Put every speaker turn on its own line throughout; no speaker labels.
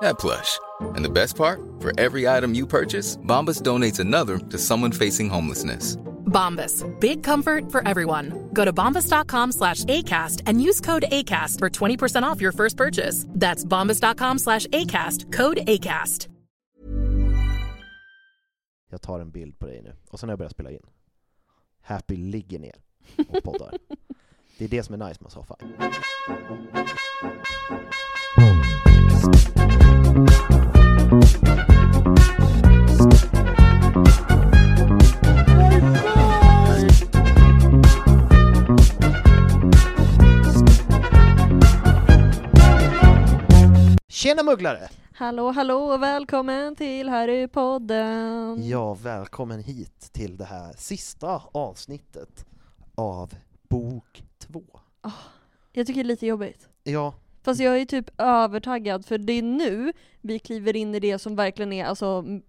that plush. And the best part? For every item you purchase, Bombas donates another to someone facing homelessness.
Bombas. Big comfort for everyone. Go to bombas.com slash ACAST and use code ACAST for 20% off your first purchase. That's bombas.com slash ACAST. Code ACAST.
Jag tar en bild på dig nu, och sen när jag börjar spela in. Happy ligger ner och poddar. det är det som är nice med sci-fi. Tjena mugglare!
Hallå, hallå och välkommen till Harrypodden!
Ja, välkommen hit till det här sista avsnittet av bok två.
Jag tycker det är lite jobbigt.
Ja,
Fast jag är typ övertaggad för det är nu vi kliver in i det som verkligen är alltså m-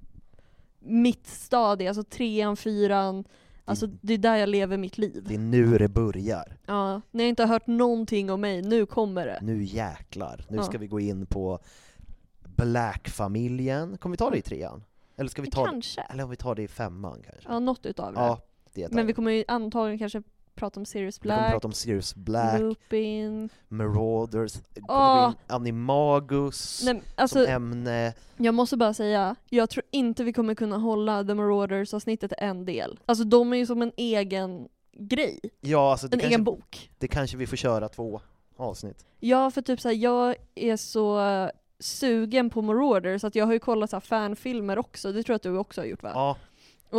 mitt stadie, alltså trean, fyran, alltså det är där jag lever mitt liv.
Mm. det är nu det börjar.
Ja, när jag inte har hört någonting om mig, nu kommer det.
Nu jäklar. Nu
Ja.
ska vi gå in på Black-familjen. Kommer vi ta det i trean? Eller ska vi ta det,
Kanske.
eller om vi tar det i femman kanske?
Ja, något utav det.
Ja, det är
Men vi kommer ju antagligen kanske prata om Sirius
vi kommer
Black,
prata om Sirius Black,
Lupin,
Marauders,
Åh.
oh. Animagus
nej men alltså
som ämne.
Jag måste bara säga, jag tror inte vi kommer kunna hålla The Marauders avsnittet en del. Alltså de är ju som en egen grej,
Ja, alltså det,
en egen
kanske,
bok.
det kanske vi får köra två avsnitt.
Ja för typ såhär, jag är så eh, sugen på Marauders att jag har ju kollat så här fanfilmer också, det tror jag att du också har gjort va?
Ja,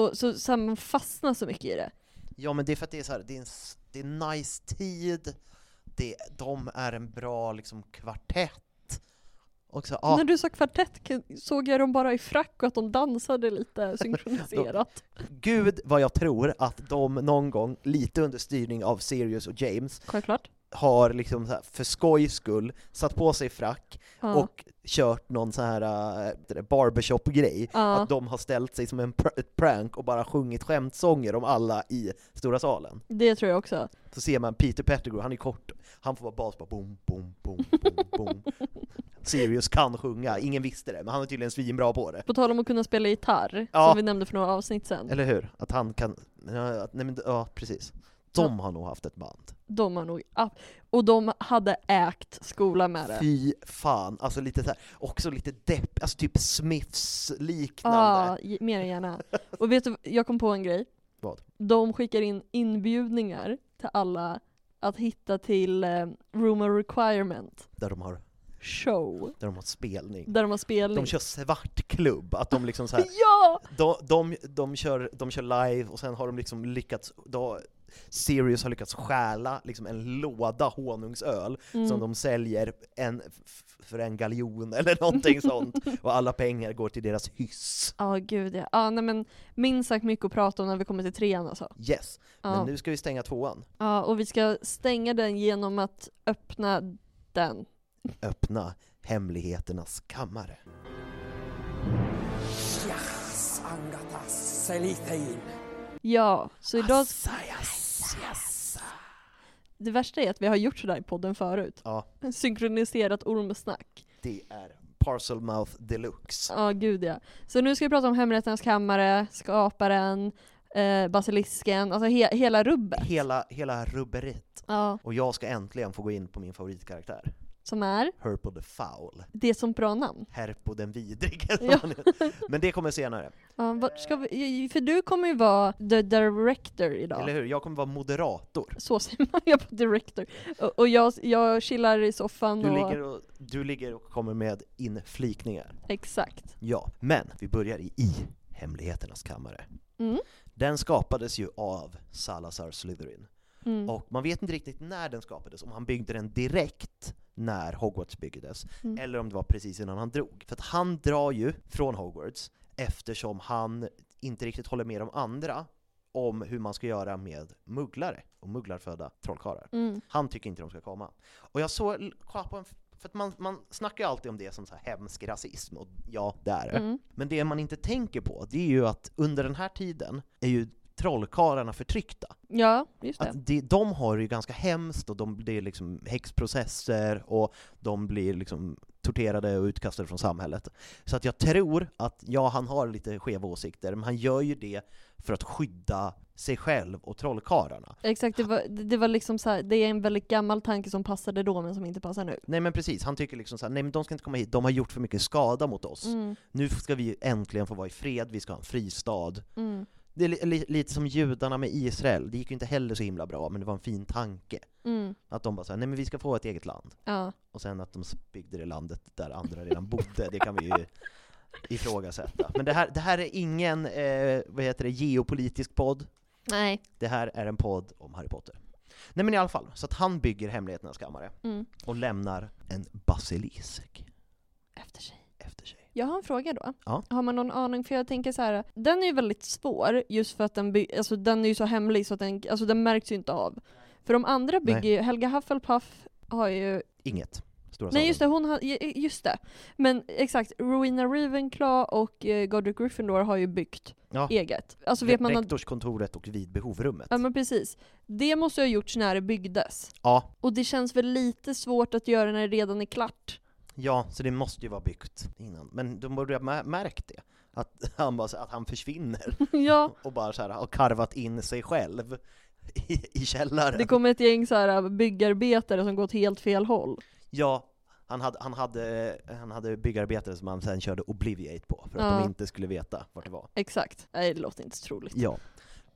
Och så, så här, man fastnar så mycket i det.
ja men det är för att det är så här, det är en, s- det är en nice tid, det, de är en bra liksom kvartett. Och så, ja,
När du sa kvartett k- såg jag dem bara i frack och att de dansade lite synkroniserat.
Gud vad jag tror att de någon gång, lite under styrning av Sirius och James,
Självklart.
har liksom så här, för skojs skull satt på sig frack
Ja.
och kört någon så här äh, det där barbershop-grej.
Ja.
Att de har ställt sig som en pr- ett prank och bara sjungit skämtsånger om alla i stora salen.
Det tror jag också.
Så ser man Peter Pettigrew, han är kort, han får vara bas, bara boom, boom, boom, boom, boom. Sirius kan sjunga, ingen visste det, men han är tydligen svinbra på det.
På tal om att kunna spela gitarr,
Ja.
som vi nämnde för några avsnitt sedan.
Eller hur? Att han kan, ja, att- nej men ja precis. De har nog haft ett band.
De har nog, ah, och de hade ägt skola med det.
Fy fan, alltså lite så här, också lite depp, alltså typ Smiths liknande.
Ja, Ah, ge- mer än gärna. Och vet du, jag kom på en grej.
Vad?
De skickar in inbjudningar till alla att hitta till eh, Room of Requirement
Där, de har,
show,
där de har spelning.
där de har spelning.
De kör svartklubb, att de liksom så här,
Ja!
de, de, de, kör, de kör live och sen har de liksom lyckats, då, Sirius har lyckats stjäla liksom en låda honungsöl som de säljer en, f- för en galjon eller någonting sånt, och alla pengar går till deras hyss.
Ja, gud ja. ja nej, men minst sagt mycket att prata om när vi kommer till trean alltså.
Yes,
Ja.
men nu ska vi stänga tvåan.
Ja, och vi ska stänga den genom att öppna den.
Öppna hemligheternas kammare.
Ja, så idag...
Assayas, yes.
Det värsta är att vi har gjort sådär i podden förut.
Ja,
Synkroniserat ormsnack.
det är Parcel Mouth Deluxe.
Ja, gud ja. Så nu ska vi prata om Hemligheternas kammare, Skaparen, eh, Basilisken, alltså he- hela rubbet.
Hela, hela rubberiet.
Ja,
Och jag ska äntligen få gå in på min favoritkaraktär,
som är
Herpo the Foul.
det som bra namn.
Herpo den vidrige.
Ja.
Men det kommer senare.
Ja, vart ska vi, för du kommer ju vara the director idag.
Eller hur? Jag kommer vara moderator.
Så säger man ju på director. Och, och jag, jag chillar i soffan
Du
och...
ligger, och, du ligger och kommer med inflikningar.
Exakt.
Ja, men vi börjar i, i Hemligheternas kammare.
Mm.
Den skapades ju av Salazar Slytherin.
Mm.
Och man vet inte riktigt när den skapades, om han byggde den direkt när Hogwarts byggdes,
Mm.
eller om det var precis innan han drog. För att han drar ju från Hogwarts eftersom han inte riktigt håller med de andra om hur man ska göra med mugglare och mugglarfödda trollkarlar.
Mm.
Han tycker inte de ska komma. Och jag såg, kolla på en, för att man, man snackar ju alltid om det som så här hemsk rasism, och ja, det är det.
Mm.
Men det man inte tänker på, det är ju att under den här tiden är ju trollkarlarna förtryckta.
Ja, just det.
Att det, de har det ju ganska hemskt, och de, det är liksom häxprocesser, och de blir liksom torterade och utkastade från samhället. Så att jag tror att, ja han har lite skeva åsikter, men han gör ju det för att skydda sig själv och trollkarlarna.
Exakt, det var, det det var liksom så här, det är en väldigt gammal tanke som passade då men som inte passar nu.
Nej men precis, han tycker liksom såhär, nej men de ska inte komma hit, de har gjort för mycket skada mot oss.
Mm,
Nu ska vi äntligen få vara i fred, vi ska ha en fristad.
mm,
Det är li- li- lite som judarna med Israel, det gick ju inte heller så himla bra, men det var en fin tanke.
mm,
Att de bara såhär, nej men vi ska få ett eget land.
ja.
Och sen att de byggde det landet där andra redan bodde, det kan vi ju ifrågasätta. Men det här, det här är ingen, eh, vad heter det, geopolitisk podd.
Nej.
Det här är en podd om Harry Potter. Nej men i alla fall, så att han bygger Hemligheternas kammare
Mm.
och lämnar en basilisk
Efter sig.
efter sig.
Jag har en fråga då.
Ja.
Har man någon aning? För jag tänker så här, den är ju väldigt svår just för att den, by- alltså, den är ju så hemlig så att den, alltså, den märks ju inte av. För de andra bygger ju, Helga Hufflepuff har ju,
Inget. Stora
nej
salen.
just det, hon har, ju- just det. Men exakt, Rowena Ravenclaw och eh, Godric Gryffindor har ju byggt
Ja.
eget. Alltså vet man att,
Rektorskontoret och vid behovrummet.
ja men precis. Det måste ju ha gjorts när det byggdes.
Ja,
Och det känns väl lite svårt att göra när det redan är klart.
ja, så det måste ju vara byggt innan. Men de borde ha mä- märkt det. Att han, bara, så- att han försvinner
ja,
och bara så här, har karvat in sig själv i, i källaren.
det kommer ett gäng så här äh, byggarbetare som går åt helt fel håll.
Ja, han hade, han, hade, han hade byggarbetare som han sen körde Obliviate på för att
Ja.
de inte skulle veta vart det var.
Exakt. Nej, det låter inte så troligt.
Ja.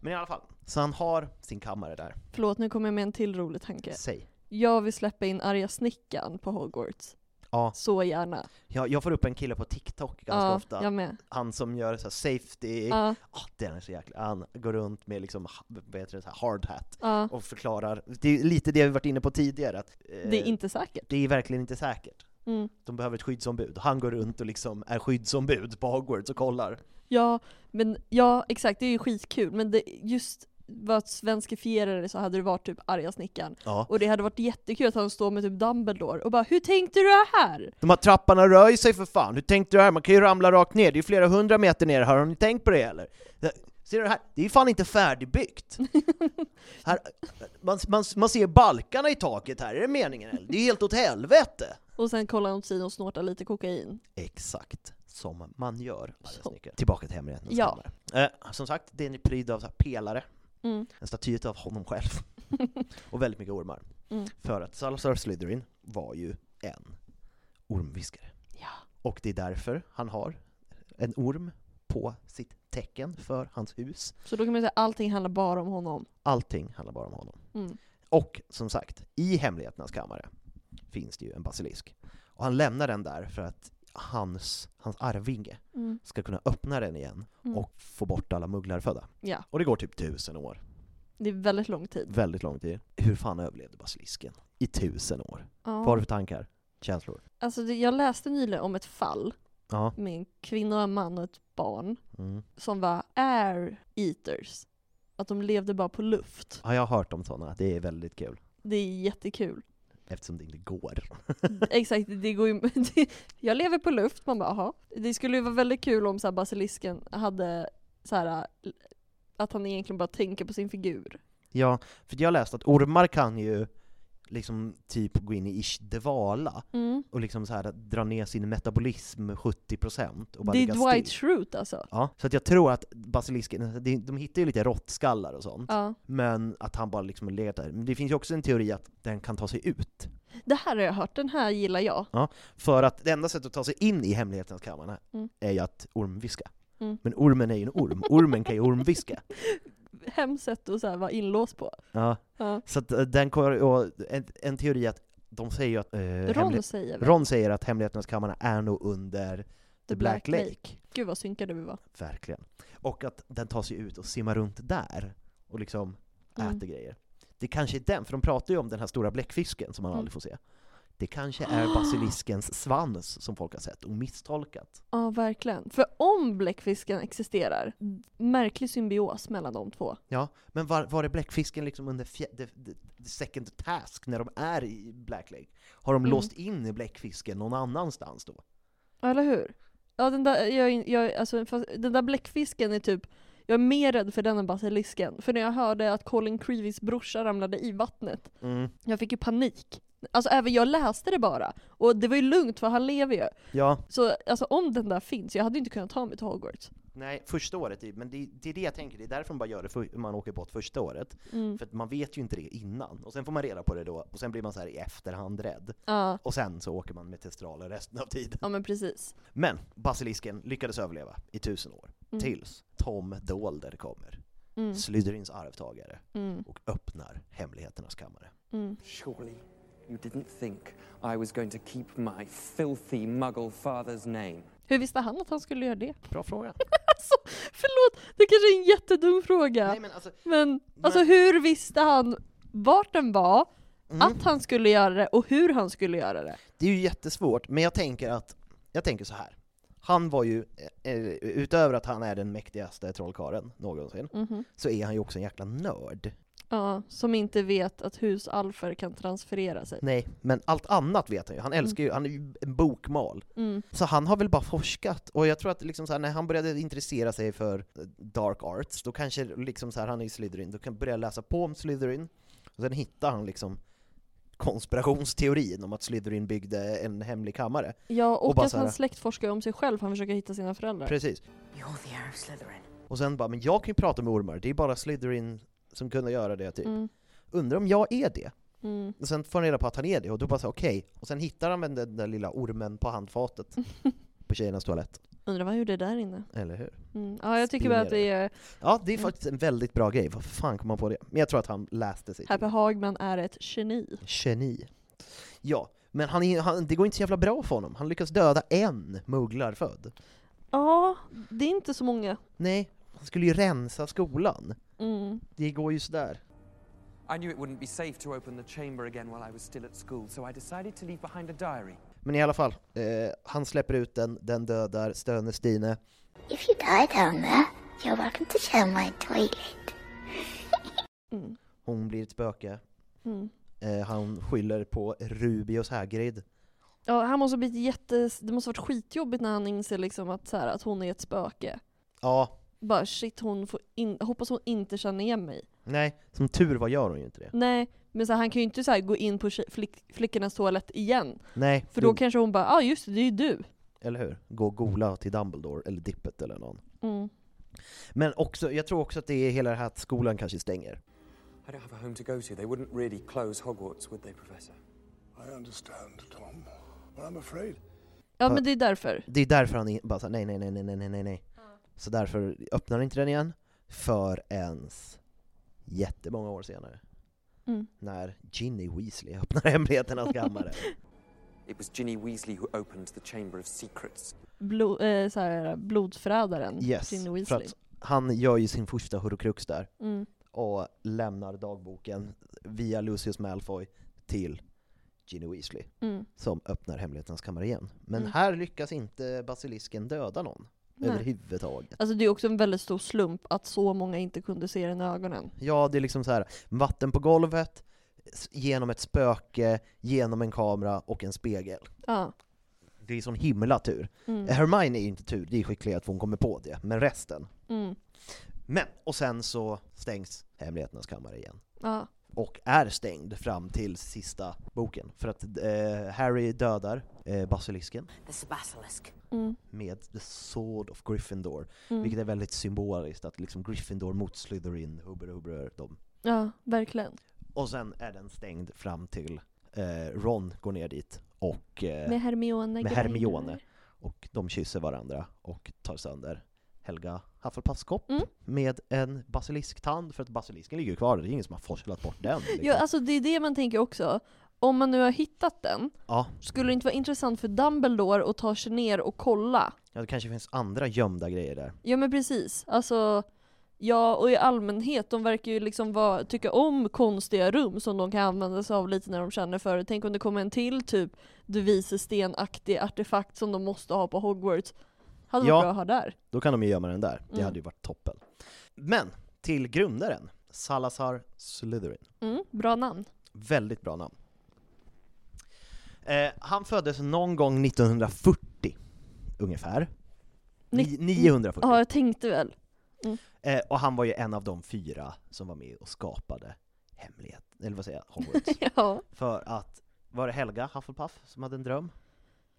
Men i alla fall, så han har sin kammare där.
Förlåt, nu kommer jag med en till rolig tanke.
Säg.
Jag vill släppa in arga snickaren på Hogwarts.
Ja,
Så gärna.
jag, jag får upp en kille på TikTok ganska
ja,
ofta.
Jag med.
Han som gör så här safety,
Ja,
Ah, den är så jäkla... Han går runt med liksom, ha- vad heter det, så här hard hat
ja.
och förklarar, det är lite det vi varit inne på tidigare, att eh,
Det är inte säkert.
det är verkligen inte säkert.
Mm.
De behöver ett skyddsombud. Han går runt och liksom är skyddsombud på Hogwarts och kollar.
Ja, men ja, exakt. Det är ju skitkul. Men det, just vad att svenskifiera det så hade det varit typ arga snickaren.
Ja.
Och det hade varit jättekul att han står med typ Dumbledore och bara “Hur tänkte du här?”
De här trapporna rör ju sig för fan, hur tänkte du här? Man kan ju ramla rakt ner, det är ju flera hundra meter ner, har ni tänkt på det eller? Ser du det här? Det är ju fan inte färdigbyggt! här, man, man, man ser balkarna i taket här, är det meningen eller? Det är ju helt åt helvete!
Och sen kollar hon åt sidan och snortar lite kokain.
Exakt som man gör.
Så.
Snickare. Tillbaka till hemlighetens
Ja.
kammare. Eh, som sagt, det är en pryd av så här pelare,
Mm.
en staty av honom själv. och väldigt mycket ormar.
Mm.
För att Salazar Slytherin var ju en ormviskare.
Ja.
Och det är därför han har en orm på sitt tecken för hans hus.
Så då kan man säga att allting handlar bara om honom.
Allting handlar bara om honom.
Mm.
Och som sagt, i Hemligheternas kammare finns det ju en basilisk. Och han lämnar den där för att hans, hans arvinge
Mm.
ska kunna öppna den igen
Mm.
och få bort alla mugglarfödda.
Ja.
Och det går typ tusen år.
Det är väldigt lång tid.
Väldigt lång tid. Hur fan överlevde basilisken? I tusen år.
Ja.
Vad har du för tankar? Känslor?
Alltså, det- jag läste nyligen om ett fall
Ja.
med en kvinna och en man och ett barn
Mm.
som var air eaters. Att de levde bara på luft.
Ja, jag har hört om sådana. Det är väldigt kul.
Det är jättekul.
Eftersom det inte går.
Exakt, det går ju... det- jag lever på luft, man bara aha. Det skulle ju vara väldigt kul om så här, basilisken hade så här, att han egentligen bara tänker på sin figur.
Ja, för jag läste att ormar kan ju liksom typ gå in i ish-dvala
Mm.
och liksom så här att dra ner sin metabolism med 70% och bara
Det är
ligga
Dwight
still.
Schrute alltså.
Ja, så att jag tror att basilisken, alltså det- de hittar ju lite råttskallar och sånt,
Ja.
men att han bara liksom har legat där. Men det finns ju också en teori att den kan ta sig ut.
Det här har jag hört, den här gillar jag.
För att det enda sättet att ta sig in i hemlighetens kammare
Mm.
är ju att ormviska.
Mm.
Men ormen är ju en orm, ormen kan ju ormviska.
Hemskt sätt att så här vara inlåst på.
Ja,
Ja.
så att eh, den kommer, och en, en teori är att de säger ju att eh, hemlig-
Ron säger väl?
Ron säger att Hemligheternas kammare är nog under The, Black, Lake.
Gud vad synkade vi var.
Verkligen. Och att den tar sig ut och simmar runt där och liksom
Mm.
äter grejer. Det kanske är den, för de pratar ju om den här stora bläckfisken som man
Mm. Ah.
aldrig får se. Det kanske är basiliskens svans som folk har sett och misstolkat.
Ja, verkligen. För om bläckfisken existerar, märklig symbios mellan de två.
Ja, men var, var är bläckfisken liksom under fjä- the, the, the second task när de är i Black Lake? Har de
Mm.
låst in bläckfisken någon annanstans då?
Ja, Eller hur? Ja, den där, jag, jag, alltså, fast, den där bläckfisken är typ, jag är mer rädd för den än basilisken. För när jag hörde att Colin Creevys brorsa ramlade i vattnet,
Mm.
jag fick ju panik. Alltså även jag läste det bara. Och det var ju lugnt för han lever ju.
Ja,
Så alltså om den där finns, jag hade ju inte kunnat ta mig till Hogwarts.
nej, första året, i- men det, det är det jag tänker, det är därför man bara gör det, för, man åker bort första året.
Mm.
För att man vet ju inte det innan, och sen får man reda på det då, och sen blir man så här i efterhand rädd.
Ja,
Och sen så åker man med testraler resten av tiden.
ja men precis.
Men basilisken lyckades överleva i tusen år,
Mm.
tills Tom Dolder kommer,
Mm.
Slytherins arvtagare,
Mm.
och öppnar Hemligheternas kammare.
Mm.
Surely you didn't think I was going to keep my filthy muggle father's name.
Hur visste han att han skulle göra det?
Bra fråga.
Alltså, förlåt! Det kanske är en jättedum fråga.
Nej men alltså,
Men alltså hur visste han vart den var,
Mm.
att han skulle göra det och hur han skulle göra det?
det är ju jättesvårt, men jag tänker att, jag tänker så här. Han var ju, eh, eh, utöver att han är den mäktigaste trollkaren någonsin,
Mm-hmm.
så är han ju också en jäkla nörd.
Ja, som inte vet att husalfer kan transferera sig.
Nej, men allt annat vet han ju. Han älskar ju, han är ju en bokmal.
Mm.
Så han har väl bara forskat, och jag tror att liksom så här, när han började intressera sig för eh, dark arts, då kanske liksom så här, han är i Slytherin, då kan börja läsa på om Slytherin, och sen hittar han liksom konspirationsteorin om att Slytherin byggde en hemlig kammare.
Ja, och,
Och bara
att
så här-
han släktforskar om sig själv, han försöker hitta sina föräldrar.
Precis.
You're the heir of Slytherin.
Och sen bara, men jag kan ju prata med ormar, det är bara Slytherin som kunde göra det typ.
Mm.
Undrar om jag är det?
Mm.
Och sen får han reda på att han är det, och då bara så här, okej. Och sen hittar han väl den där lilla ormen på handfatet, på tjejernas toalett.
Undrar vad han gjorde där inne?
Eller hur?
Mm. Ja, jag tycker bara att det är
Ja, det är
Mm.
faktiskt en väldigt bra grej. Vad fan kom man på det? Men jag tror att han läste sig
Happy Hagman är ett geni.
Geni. Ja, men han är, han, det går inte så jävla bra för honom. Han lyckas döda en mugglarfödd.
Ja, det är inte så många.
Nej, han skulle ju rensa skolan.
Mm.
Det går ju sådär.
I knew it wouldn't be safe to open the chamber again while I was still at school, so I decided to leave behind a diary.
Men i alla fall, eh, han släpper ut den, den dödar Stöne Stine.
If you die down there, you're welcome to share my toilet.
Mm.
Hon blir ett spöke.
Mm.
Eh, han skyller på Rubius Hagrid.
Ja, han måste ha blivit jätte... Det måste ha varit skitjobbigt när han inser liksom att, så här, att hon är ett spöke.
Ja,
Bara shit, hon får in... hoppas hon inte känner igen mig.
nej, som tur var gör hon ju inte det.
Nej, men så här, han kan ju inte så här, gå in på tje- flick... flickornas toalett igen.
Nej,
För då kanske hon bara ja ah, just det, det är ju du.
eller hur? Gå och gola till Dumbledore eller Dippet eller någon. Men också, jag tror också att det är hela det här att skolan kanske stänger.
I don't have a home to go to. They wouldn't really close Hogwarts, would they, Professor?
I understand, Tom, but I'm afraid
Ja men det är därför.
Det är därför han är bara såhär, nej, nej, nej, nej, nej, nej, nej, nej. Så därför öppnar inte den igen för ens jättemånga år senare.
Mm.
När Ginny Weasley öppnar hemligheternas kammare.
It was Ginny Weasley who opened the Chamber of Secrets.
Blo... Eh, så här, blodförrädaren
Yes,
Ginny
för
Weasley.
att han gör ju sin första hurkrux där
Mm.
och lämnar dagboken via Lucius Malfoy till Ginny Weasley
Mm.
som öppnar hemligheternas kammare igen. Men
Mm.
här lyckas inte basilisken döda någon
Nej.
överhuvudtaget.
Alltså det är också en väldigt stor slump att så många inte kunde se den i ögonen.
Ja, det är liksom så här vatten på golvet, s- genom ett spöke, genom en kamera och en spegel.
Ja.
Det är sån himla tur.
Mm.
Hermione är ju inte tur, det är skicklighet för hon kommer på det, men resten.
Mm.
Men, och sen så stängs Hemligheternas kammare igen.
Ja.
Och är stängd fram till sista boken. För att eh, Harry dödar eh, basilisken
This basilisk.
Mm.
med The Sword of Gryffindor.
Mm.
Vilket är väldigt symboliskt, att liksom Gryffindor mot Slytherin, hubber hubber dem.
Ja, verkligen.
Och sen är den stängd fram till eh, Ron går ner dit och,
Med
eh,
Hermione.
Med Hermione.
grejer.
och de kysser varandra och tar sönder Helga Hufflepuffs kopp
Mm.
med en basilisktandd, för att basilisken ligger ju kvar, det är ingen som har forslat bort den. Liksom.
Ja, alltså det är det man tänker också. Om man nu har hittat den,
ja,
skulle det inte vara intressant för Dumbledore att ta sig ner och kolla?
ja, det kanske finns andra gömda grejer där.
Ja men precis, alltså Ja, och i allmänhet, de verkar ju liksom vara, tycka om konstiga rum som de kan använda sig av lite när de känner för det. Tänk om det kommer en till typ du vises stenaktig artefakt som de måste ha på Hogwarts. Hade varit
Ja.
bra att ha där.
Då kan de ju gömma den där, det
Mm.
hade ju varit toppen. Men, till grundaren, Salazar Slytherin.
Mm, bra namn.
Väldigt bra namn. Eh, han föddes någon gång 1940, ungefär. Ni- 940.
Ja, jag tänkte väl.
Eh, och han var ju en av de fyra som var med och skapade hemlighet, eller vad säger jag, Hogwarts.
Ja,
För att, var det Helga Hufflepuff som hade en dröm?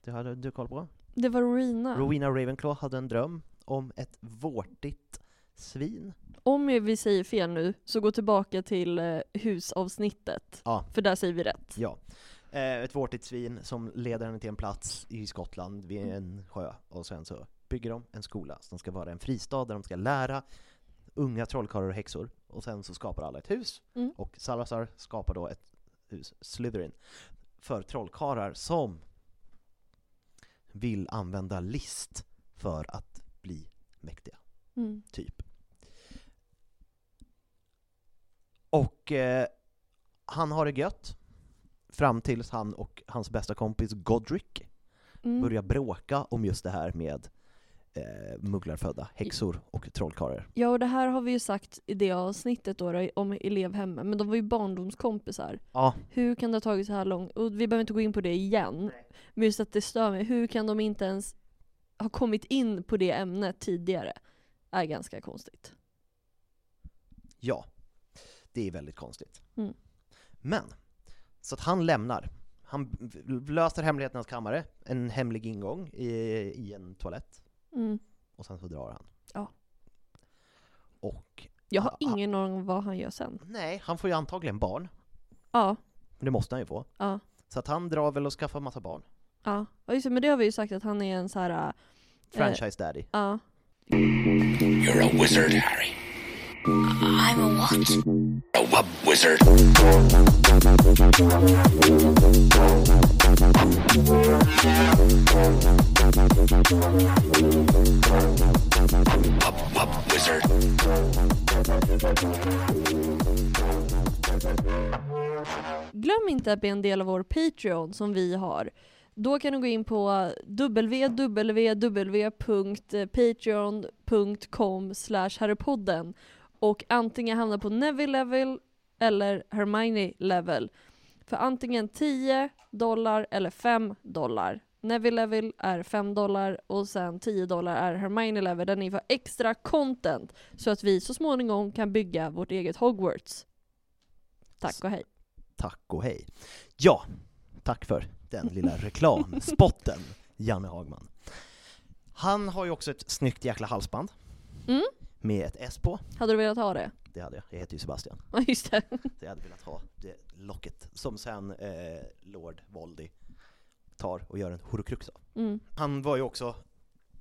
Det hade du koll på?
det var Rowena.
Rowena Ravenclaw hade en dröm om ett vårtigt svin.
om vi säger fel nu, så gå tillbaka till eh, husavsnittet.
Ja.
För där säger vi rätt.
Ja. Eh, ett vårtigt svin som leder henne till en plats i Skottland vid en sjö. Och sen så bygger de en skola som ska vara en fristad där de ska lära unga trollkarlar och häxor. Och sen så skapar alla ett hus.
Mm.
Och Salazar skapar då ett hus, Slytherin, för trollkarlar som vill använda list för att bli mäktiga
Mm.
typ. Och eh, han har det gött, fram tills han och hans bästa kompis Godric
Mm.
börjar bråka om just det här med eh, mugglarfödda häxor och trollkarlar.
Ja, och det här har vi ju sagt i det avsnittet då, då om elevhemmen, men de var ju barndomskompisar.
Ja,
Hur kan det ha tagit så här långt? Och vi behöver inte gå in på det igen, men just att det stör mig. Hur kan de inte ens ha kommit in på det ämnet tidigare? Är ganska konstigt.
ja. Det är väldigt konstigt.
Mm.
Men, så att han lämnar. Han b- löser hemligheternas kammare, en hemlig ingång i, i en toalett,
Mm.
och sen så drar han.
Ja.
Och,
Jag har
Ja, ja.
ingen aning om vad han gör sen.
nej, han får ju antagligen barn.
Ja,
Det måste han ju få.
ja,
Så att han drar väl och skaffar massa barn.
ja. ja just det, men det har vi ju sagt att han är en så här... äh,
Franchise daddy.
Ja.
You're a wizard, Harry. I'm a what? A wub wizard. Wub wub wizard.
Glöm inte att bli en del av vår Patreon som vi har. Då kan du gå in på www.patreon.com herrepodden och antingen hamna på Neville level eller Hermione level. För antingen 10 dollar eller 5 dollar. Neville level är 5 dollar och sen 10 dollar är Hermione level där ni får extra content så att vi så småningom kan bygga vårt eget Hogwarts. Tack och hej.
Tack och hej. Ja, tack för den lilla reklamspotten, Janne Hagman. Han har ju också ett snyggt jäkla halsband
Mm.
med ett S på.
Hade du velat ha det?
Det hade jag. Jag heter ju Sebastian.
Ja just det.
Så jag hade velat ha det locket som sen eh, Lord Voldy tar och gör en horocrux av.
Mm.
Han var ju också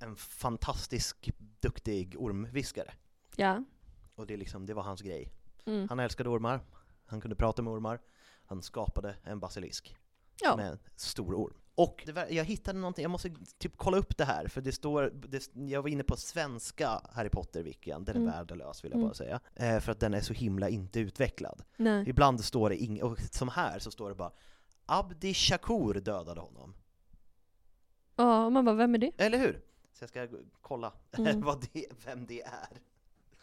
en fantastisk duktig ormviskare.
Ja.
Och det, är liksom, det var hans grej.
Mm.
Han älskade ormar, han kunde prata med ormar, han skapade en basilisk
Ja.
med en stor orm. Och det var, jag hittade någonting, jag måste typ kolla upp det här, för det står, det, jag var inne på svenska Harry Potter-wikian, den är
Mm.
värdelös vill jag
Mm. Mm.
bara säga, eh, för att den är så himla inte utvecklad.
Nej.
Ibland står det inget, och som här så står det bara Abdi Shakur dödade honom.
Ja, och man bara vem är det?
Eller hur? Så jag ska gå- kolla
Mm.
vad det, vem det är.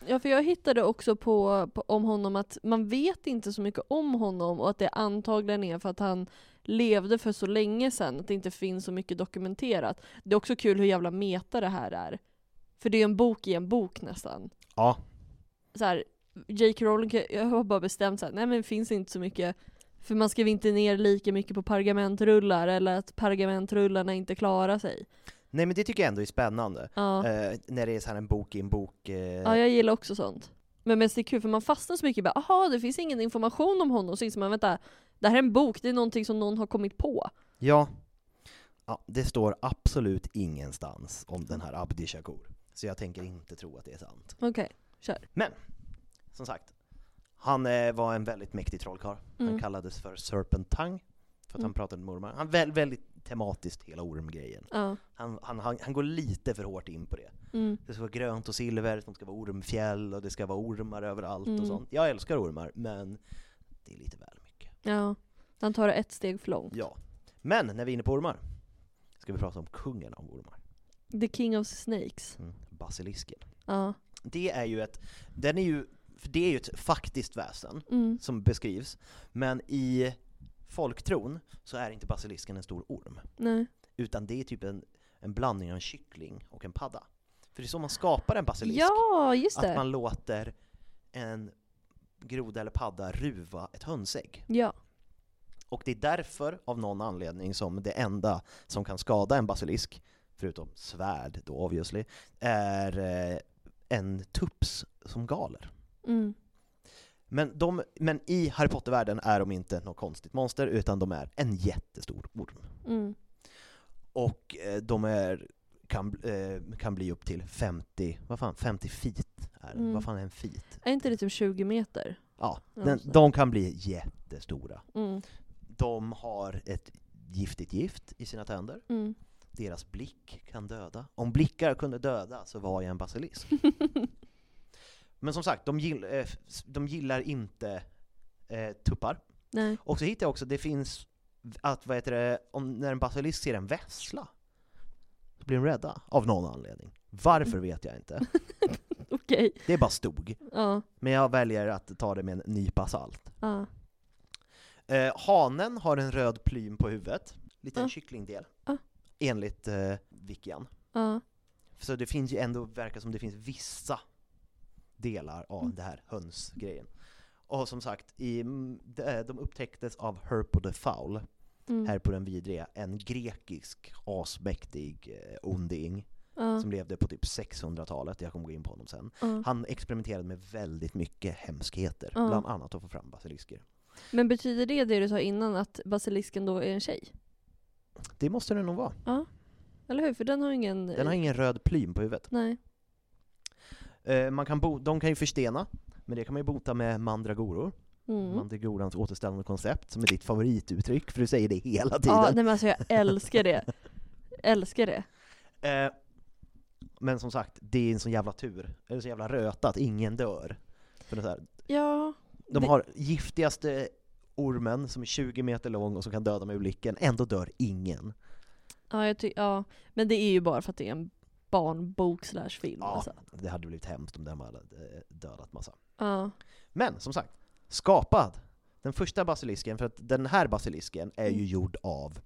Ja för jag hittade också på, på om honom att man vet inte så mycket om honom och att det antagligen är för att han levde för så länge sedan att det inte finns så mycket dokumenterat. Det är också kul hur jävla meta det här är. För det är en bok i en bok nästan.
Ja,
så här, Jake Rowling kan- jag har bara bestämt så här, nej men det finns inte så mycket, för man skriver inte ner lika mycket på pergamentrullar, eller att pergamentrullarna inte klarar sig.
Nej men det tycker jag ändå är spännande.
Ja.
Eh, när det är så här en bok i en bok. eh,
Ja, jag gillar också sånt. Men mest det är kul för man fastnar så mycket bara, aha det finns ingen information om honom, så inser man vänta, det här är en bok, det är någonting som någon har kommit på.
Ja. ja. Det står absolut ingenstans om den här Abdi Shakur. Så jag tänker inte tro att det är sant.
Okej, kör.
Men, som sagt. Han eh, var en väldigt mäktig trollkarl. Han
Mm.
kallades för Serpentang. För att han
Mm.
pratade med ormar. Han väl, väldigt tematiskt hela ormgrejen.
Ja.
Han, han, han, han går lite för hårt in på det.
Mm.
Det ska vara grönt och silver, det ska vara ormfjäll och det ska vara ormar överallt
Mm.
och sånt. Jag älskar ormar, men det är lite väl mycket.
ja. Han tar det ett steg för långt.
Ja. Men när vi är inne på ormar, ska vi prata om kungen av ormar.
The King of Snakes.
Mm. Basilisken.
Ja.
Det är ju ett, den är ju, för det är ju ett faktiskt väsen
Mm.
som beskrivs, men i folktron så är inte basilisken en stor orm,
Nej.
utan det är typ en, en blandning av en kyckling och en padda. För det är så man skapar en basilisk.
Ja, just
att
det.
man låter en groda eller padda ruva ett hönsägg.
Ja.
Och det är därför, av någon anledning, som det enda som kan skada en basilisk, förutom svärd då obviously, är eh, en tups som galer.
Mm.
Men, de, men i Harry Potter-världen är de inte något konstigt monster, utan de är en jättestor orm.
Mm.
Och eh, de är, kan, eh, kan bli upp till 50, vad fan, 50 feet är den.
Mm.
Vad fan är en feet?
Är inte det typ 20 meter?
Ja,
Ja,
den,
så.
de kan bli jättestora.
Mm.
De har ett giftigt gift i sina tänder.
Mm.
Deras blick kan döda. Om blickar kunde döda så var jag en basilisk. Men som sagt, de, gill, eh, f- de gillar inte eh, tuppar.
Nej.
Och så hittar jag också, det finns att vad heter det, om, när en basilisk ser en vessla, då blir de rädda av någon anledning. Varför vet jag inte.
Okej.
Det bara stod.
Ja.
Men jag väljer att ta det med en nypa salt.
Ja.
Eh, hanen har en röd plym på huvudet, liten
Ah.
kycklingdel,
Ah.
enligt eh, Wikian.
Ja.
Så det finns ju ändå, verkar som det finns vissa delar av
Mm.
det här hönsgrejen. Och som sagt, i, mm, de, eh, de upptäcktes av Herpo the Foul,
Mm.
här på den vidriga, en grekisk asmäktig eh, onding
Ja. Mm.
som levde på typ 600-talet, jag kommer gå in på honom sen.
Ja.
Han experimenterade med väldigt mycket hemskheter,
Ja.
bland annat att få fram basilisker.
Men betyder det det du sa innan att basilisken då är en tjej?
Det måste det nog vara.
Eller hur? För den har ingen...
Den har ingen röd plym på huvudet.
Nej.
Eh, man kan bo- de kan ju förstena, men det kan man ju bota med mandragoror.
Mm.
Mandragorans återställande koncept, som är ditt favorituttryck, för du säger det hela tiden.
Ja, nej men alltså jag älskar det. älskar det.
Eh, men som sagt, det är en sån jävla tur, eller så jävla röta, att ingen dör. För det är så här,
Ja.
de
Det-
har giftigaste ormen som är 20 meter lång och som kan döda med blicken, ändå dör ingen.
Ja, jag ty- ja, men det är ju bara för att det är en barnbok slash film.
Ja,
Alltså.
det hade blivit hemskt om de hade eh, dödat massa.
Ja.
Men som sagt, skapad. Den första basilisken, för att den här basilisken är
Mm.
ju gjord av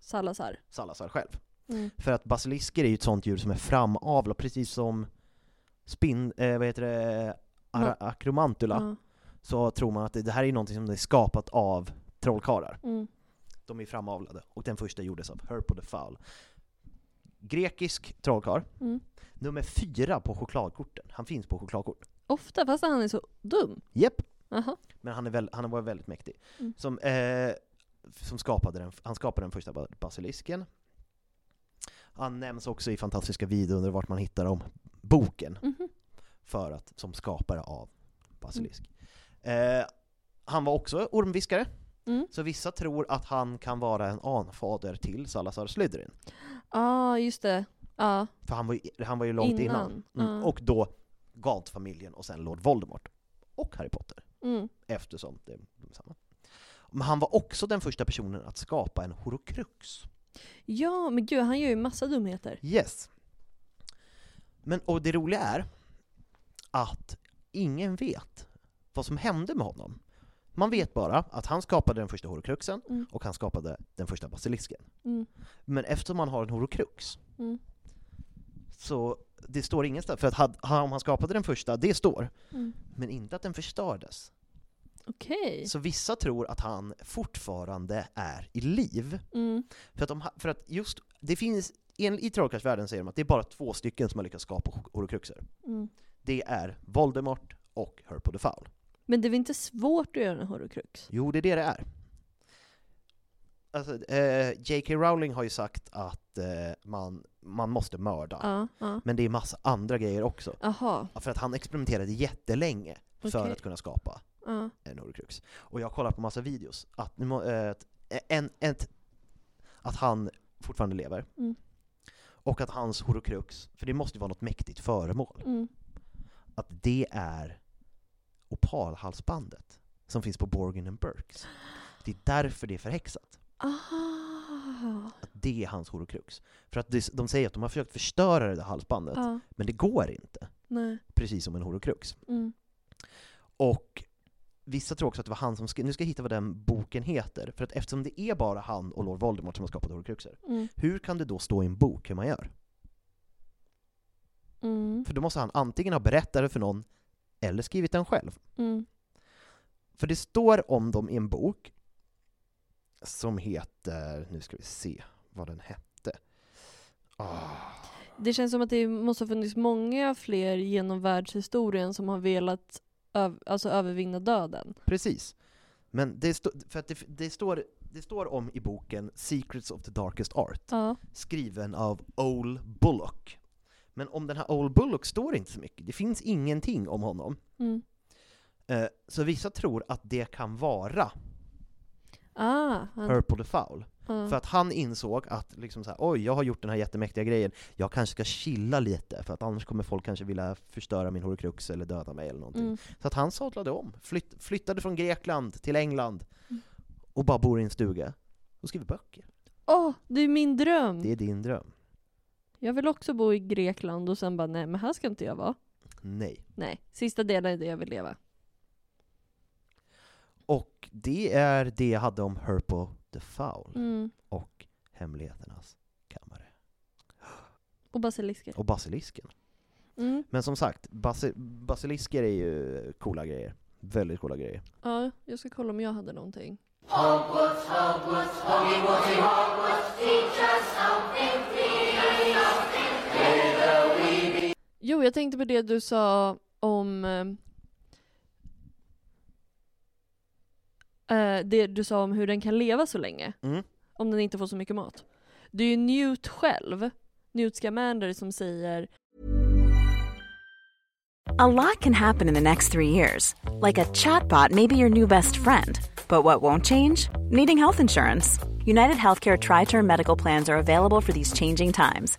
Salazar.
Salazar själv.
Mm.
För att basilisker är ju ett sånt djur som är framavlat, precis som spin, eh, vad heter det, Ara-
Mm.
akromantula,
Ja.
så tror man att det, det här är någonting som är skapat av trollkarlar.
Mm.
De är framavlade, och den första gjordes av Herpo the Foul. Grekisk trollkarl.
Mm.
Nummer fyra på chokladkorten. Han finns på chokladkort.
Ofta, fast han är så dum.
Japp!
Aha.
Men han, är väl, han var väldigt mäktig.
Mm.
Som, eh, som skapade den, han skapade den första ba- basilisken. Han nämns också i fantastiska vidunder vart man hittar om boken
Mhm.
för att, som skapare av basilisk. Eh, han var också ormviskare,
Mm.
så vissa tror att han kan vara en anfader till Salazar Slytherin.
ah, just det. Ja,
För han var ju, han var ju långt innan.
innan.
Mm.
Ja.
Och då Galt-familjen och sen Lord Voldemort. Och Harry Potter.
Mm.
eftersom det är de samma. Men han var också den första personen att skapa en horokrux.
Ja, men gud, han gör ju massa dumheter.
Yes. Men, och det roliga är att ingen vet vad som hände med honom. Man vet bara att han skapade den första horokruxen
Mm.
och han skapade den första basilisken.
Mm.
Men eftersom han har en horokrux
Mm.
så det står ingenstans, för att had, han- om han skapade den första, det står.
Mm.
Men inte att den förstördes.
Okej.
Så vissa tror att han fortfarande är i liv.
Mm.
För att, de, ha- för att just, det finns, en, i trollkarlsvärlden säger de att det är bara två stycken som har lyckats skapa hor- horokruxer.
Mm.
Det är Voldemort och Herpo the Foul.
Men det är väl inte svårt att göra en horrorkrux?
Jo, det är det det är. Alltså, eh, J.K. Rowling har ju sagt att eh, man, man måste mörda.
Ja. ja.
Men det är massa andra grejer också.
Aha.
Ja, För att han experimenterade jättelänge för
Okej.
att kunna skapa
Ja.
en horcrux. Och jag har kollat på massa videos. Att, nu må- eh, att en, ett, att han fortfarande lever.
Mm.
Och att hans horcrux, för det måste ju vara något mäktigt föremål,
Mm.
att det är opalhalsbandet som finns på Borgin and Burkes. Det är därför det är förhäxat.
Aha.
Att det är hans horcrux. För att det, de säger att de har försökt förstöra det där halsbandet,
Ja.
men det går inte.
Nej.
Precis som en horcrux.
Mm.
Och vissa tror också att det var han som skrev, nu ska jag hitta vad den boken heter, för att eftersom det är bara han och Lord Voldemort som har skapat horcruxer,
Mm.
hur kan det då stå i en bok hur man gör?
Mm.
För då måste han antingen ha berättat det för någon, eller skrivit den själv.
Mm.
För det står om dem i en bok som heter, nu ska vi se vad den hette. Ah,
Det känns som att det måste ha funnits många fler genom världshistorien som har velat öv- alltså övervinna döden.
precis. Men det, stå, för att det, det, står, det står om i boken Secrets of the Darkest Art.
Ja.
skriven av Ole Bullock. Men om den här Ole Bullock står inte så mycket, det finns ingenting om honom.
Mm.
Eh, så vissa tror att det kan vara
Ah, han,
Purple the Foul.
ja.
För att han insåg att liksom så här, oj, jag har gjort den här jättemäktiga grejen, jag kanske ska chilla lite, för att annars kommer folk kanske vilja förstöra min horcrux eller döda mig eller någonting.
Mm.
Så att han sadlade om, flytt, flyttade från Grekland till England
Mm.
och bara bor i en stuga och skriver böcker.
Åh, det är min dröm!
Det är din dröm.
Jag vill också bo i Grekland och sen bara nej, men här ska inte jag vara.
Nej.
Nej, sista delen är det jag vill leva.
Och det är det jag hade om Herpo the Foul
Mm.
och Hemligheternas kammare.
Och basilisker.
Och Basilisken.
Mm.
Men som sagt, basi- basilisker är ju coola grejer. Väldigt coola grejer.
Ja, jag ska kolla om jag hade någonting. Jo, jag tänkte på det du sa om... eh, eh, det du sa om hur den kan leva så länge.
Mm.
Om den inte får så mycket mat. Det är ju Newt själv, Newt Scamander, som säger
A lot can happen in the next three years. Like a chatbot may be your new best friend. But what won't change? Needing health insurance. United Healthcare Tri Term Medical Plans are available for these changing times.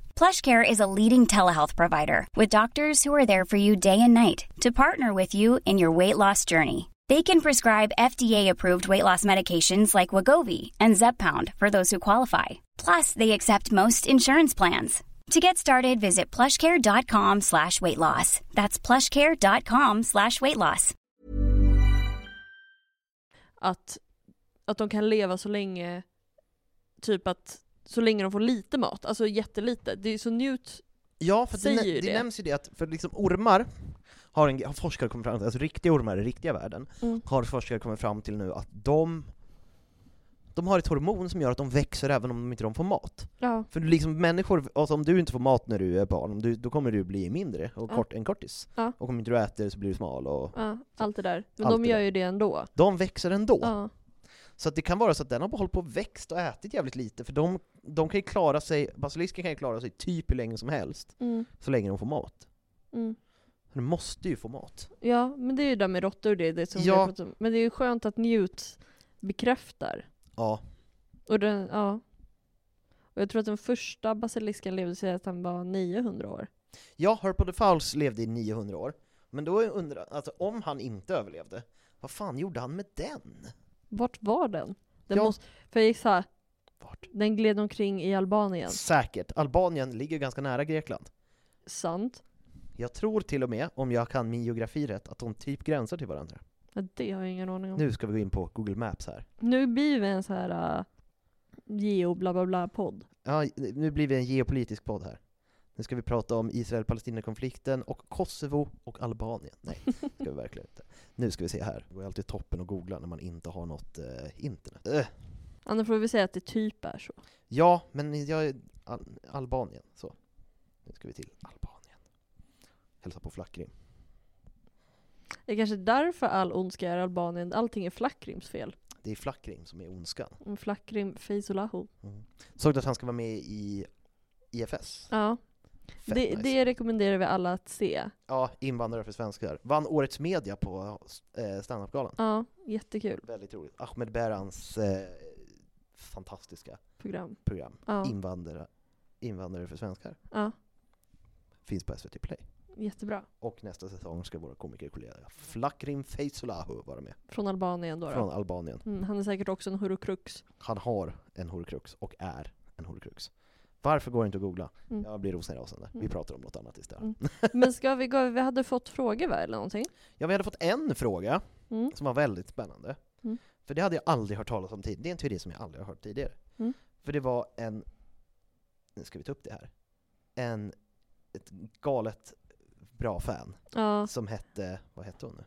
PlushCare is a leading telehealth provider with doctors who are there for you day and night to partner with you in your weight loss journey. They can prescribe FDA-approved weight loss medications like Wagovi and Zepbound for those who qualify. Plus, they accept most insurance plans. To get started, visit plushcare.com slash weight loss. That's plushcare.com slash weight loss.
att, att de kan leva så länge, typ att så länge de får lite mat, alltså jättelite. Det är så Newt,
Ja, för det,
Säger
nä-
ju
det
det.
nämns ju det att för liksom ormar har, en, har forskare kommit fram till, alltså riktiga ormar i riktiga världen,
Mm.
har forskare kommit fram till nu att de de har ett hormon som gör att de växer även om de inte de får mat.
ja.
För liksom människor, alltså om du inte får mat när du är barn, om du, då kommer du bli mindre och
Ja.
kort, en kortis.
Ja.
Och om inte du äter så blir du smal och
Ja, allt det där. Men
Allt
de
det
gör
där.
ju det ändå.
de växer ändå.
Ja.
Så att det kan vara så att den har bara hållit på och växt och ätit jävligt lite, för de, de kan ju klara sig, basilisken kan ju klara sig typ hur länge som helst,
Mm,
så länge de får mat.
mm.
De måste ju få mat.
ja, men det är ju det där med råttor och det, det som vi
Ja.
har pratat om. Men det är ju skönt att Newt bekräftar.
Ja.
Och den, ja. Och jag tror att den första basilisken levde sig att han var 900 år.
Ja, Herpo the Fowls levde i 900 år. Men då undrar alltså om han inte överlevde, vad fan gjorde han med den?
Vart var den? den
Ja.
måste, för jag gissar, den gled omkring i Albanien.
Säkert. Albanien ligger ganska nära Grekland.
Sant.
Jag tror till och med, om jag kan min geografi rätt, att de typ gränsar till varandra.
Ja, det har jag ingen aning om.
Nu ska vi gå in på Google Maps här.
Nu blir vi en så här uh, geo bla bla bla podd.
Ja, nu blir vi en geopolitisk podd här. Nu ska vi prata om Israel-Palestina-konflikten och Kosovo och Albanien. Nej, det ska vi verkligen inte. Nu ska vi se här. Det går ju alltid toppen att googla när man inte har något eh, internet. Eh.
Annars får vi säga att det typ är så.
Ja, men jag är Al Albanien. Så. Nu ska vi till Albanien. Hälsa på Flackrim.
Det är kanske därför all ondska är Albanien. Allting är Flackrims fel.
Det är Flackrim som är ondskan.
Mm, Flackrim Feisolahu.
Såg du att han ska vara med i IFS?
Ja.
Fett
Det,
nice.
det rekommenderar vi alla att se.
Ja, invandrare för svenskar. Vann Årets Media på eh, standup-galan.
Ja, jättekul
Väldigt roligt. Ahmed Berhans eh, fantastiska
program.
program.
Ja.
Invandrare, invandrare för svenskar.
Ja,
Finns på SVT Play.
jättebra.
Och nästa säsong ska våra komikerkollega Flakrim Feysolahu vara med.
Från Albanien då. då.
Från Albanien.
Mm, han är säkert också en hurukrux.
Han har en horcrux och är en horcrux. Varför går det inte att googla?
Mm.
Jag blir rosenrasande. Vi
Mm.
pratar om något annat istället.
Mm. Men ska vi gå, vi hade fått frågor va, eller någonting?
Ja, vi hade fått en fråga
Mm.
som var väldigt spännande.
Mm.
För det hade jag aldrig hört talas om tidigare. Det är en teori som jag aldrig har hört tidigare.
Mm.
För det var en, nu ska vi ta upp det här, en, ett galet bra fan
Ja.
som hette, vad hette hon nu?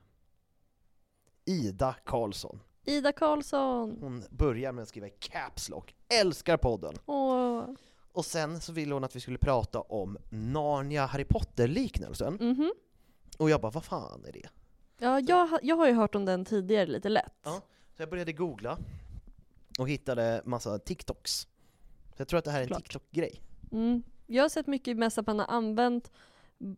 Ida Karlsson.
Ida Karlsson!
Hon börjar med att skriva i Caps Lock, älskar podden.
Åh.
Och sen så ville hon att vi skulle prata om Narnia Harry Potter-liknelsen.
Mhm.
Och jag bara, vad fan är det?
Ja, jag, ha- jag har ju hört om den tidigare lite lätt.
Ja. Så jag började googla och hittade massa TikToks. Så jag tror att det här är en
Såklart.
TikTok-grej.
Mm. Jag har sett mycket mest att man har använt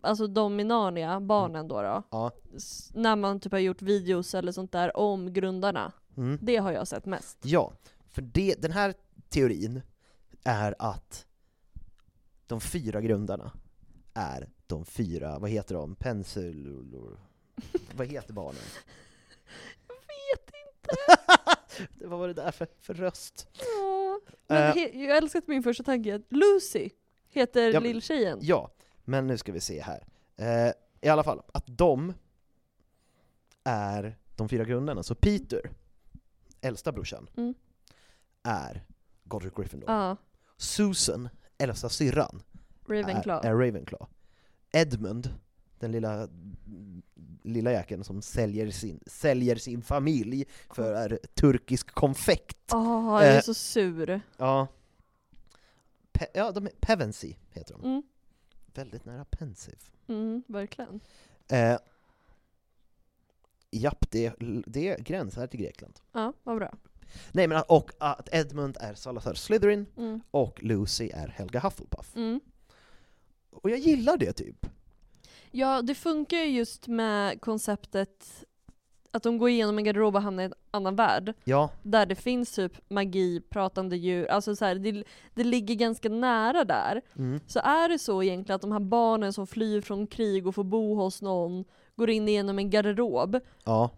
Alltså de i Narnia, barnen då, då
Ja.
s- när man typ har gjort videos eller sånt där om grundarna.
Mm.
Det har jag sett mest.
Ja, för det, den här teorin är att de fyra grundarna är de fyra, vad heter de? Pensulor? Vad heter barnen?
Vet inte.
vad var det där för, för röst?
Ja. Men
Eh.
he- jag älskar att min första tanke är att Lucy heter
Ja, men-
lilltjejen.
Ja, men nu ska vi se här. Eh, I alla fall, att de är de fyra grundarna. Så Peter, äldsta brorsan,
Mm.
är Godric Gryffindor.
Ja,
Susan, äldsta syrran,
Ravenclaw.
Är, är Ravenclaw. Edmund, den lilla, lilla jäkeln som säljer sin, säljer sin familj för är turkisk konfekt.
Åh, jag är
eh,
så sur.
Ja. Pe- ja, de är Pevensey heter de.
Mm,
Väldigt nära Pensive.
mm, verkligen.
Eh, japp, det, det gränsar till Grekland.
Ja, vad bra.
Nej men att- och att Edmund är Salazar Slytherin
Mm,
och Lucy är Helga Hufflepuff.
mm.
Och jag gillar det typ.
Ja, det funkar ju just med konceptet att de går igenom en garderob och hamnar i en annan värld.
Ja,
Där det finns typ magi, pratande djur, alltså så här, det, det ligger ganska nära där.
mm,
Så är det så egentligen att de här barnen som flyr från krig och får bo hos någon, går in genom en garderob.
ja.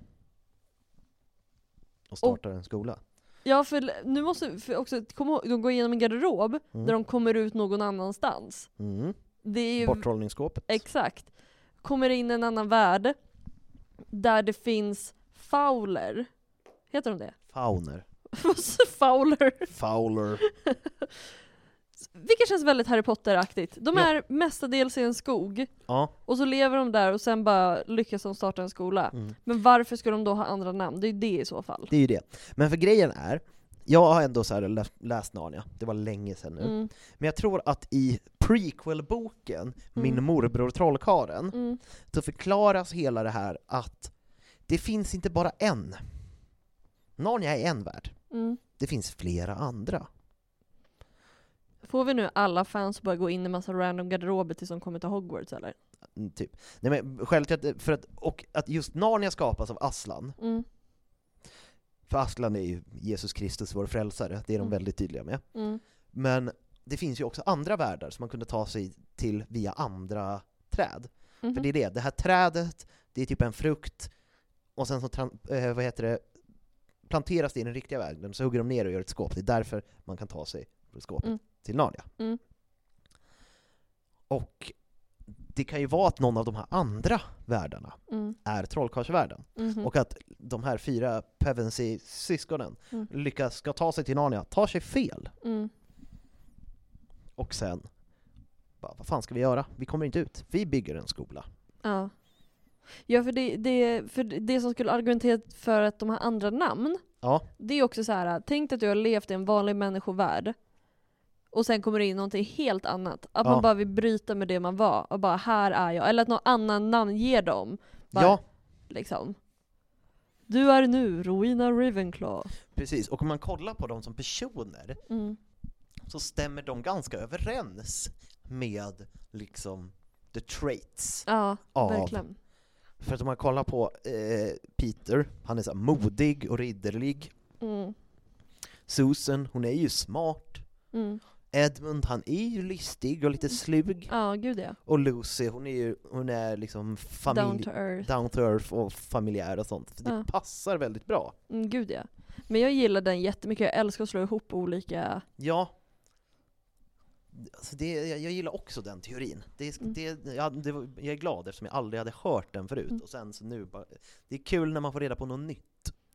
Och startar en skola.
Ja för nu måste för också, kom ihåg, de går igenom en garderob
Mm.
där de kommer ut någon annanstans.
Mm.
Det är ju
Borthållningsskåpet.
Exakt. Kommer in i en annan värld där det finns fauler. Heter de det?
Fauner.
Vad sa fauler?
Fowler.
Vilket känns väldigt Harry Potter-aktigt. De
Ja.
är mestadels i en skog,
Ja.
och så lever de där och sen bara lyckas de starta en skola.
Mm.
Men varför ska de då ha andra namn? Det är ju det i så fall.
Det är ju det. Men för grejen är, jag har ändå så här lä- läst Narnia, det var länge sedan nu.
Mm,
Men jag tror att i prequel-boken, Min
Mm.
morbror trollkaren
mm,
så förklaras hela det här att det finns inte bara en. Narnia är en värld.
mm.
Det finns flera andra.
Får vi nu alla fans att bara gå in i massa random garderober tills de kommer till Hogwarts eller?
Mm, Typ. Nej, men skälet till att, för att, och att just Narnia skapas av Aslan,
Mm,
för Aslan är ju Jesus Kristus, vår frälsare, det är de
Mm.
väldigt tydliga med.
mm,
Men det finns ju också andra världar som man kunde ta sig till via andra träd.
Mhm.
För det är det, det här trädet, det är typ en frukt, och sen så tran- eh, vad heter det, planteras det i den riktiga världen, så hugger de ner och gör ett skåp. Det är därför man kan ta sig från skåpet
Mm.
till Narnia.
Mm.
Och det kan ju vara att någon av de här andra världarna
Mm.
är trollkarlsvärlden.
Mhm.
Och att de här fyra Pevensey-syskonen
Mm.
lyckas, ska ta sig till Narnia, tar sig fel.
Mm.
Och sen, bara, vad fan ska vi göra? Vi kommer inte ut. Vi bygger en skola.
Ja. Ja, för det, det, för det som skulle argumentera för att de har andra namn,
Ja.
det är också så här. tänk dig att du har levt i en vanlig människovärld, och sen kommer det in någonting helt annat. Att
Ja.
man bara vill bryta med det man var, och bara här är jag. Eller att någon annan namnger dem. Bara,
Ja,
Liksom. Du är nu Rowena Ravenclaw.
precis. Och om man kollar på dem som personer
Mm.
så stämmer de ganska överens med liksom the traits.
Ja,
Av.
verkligen.
För att om man kollar på eh, Peter, han är så här modig och ridderlig.
Mm.
Susan, hon är ju smart.
Mm.
Edmund, han är ju listig och lite slug.
Ja, gud ja.
Och Lucy, hon är ju hon är liksom familj...
Down to earth.
down to earth och familjär och sånt. Det
Ja.
passar väldigt bra.
Mm, gud ja. Men jag gillar den jättemycket, jag älskar att slå ihop olika
Ja. Alltså det, jag, jag gillar också den teorin. Det,
Mm.
det, jag, det, var- jag är glad eftersom jag aldrig hade hört den förut.
Mm.
Och sen så nu bara, det är kul när man får reda på något nytt.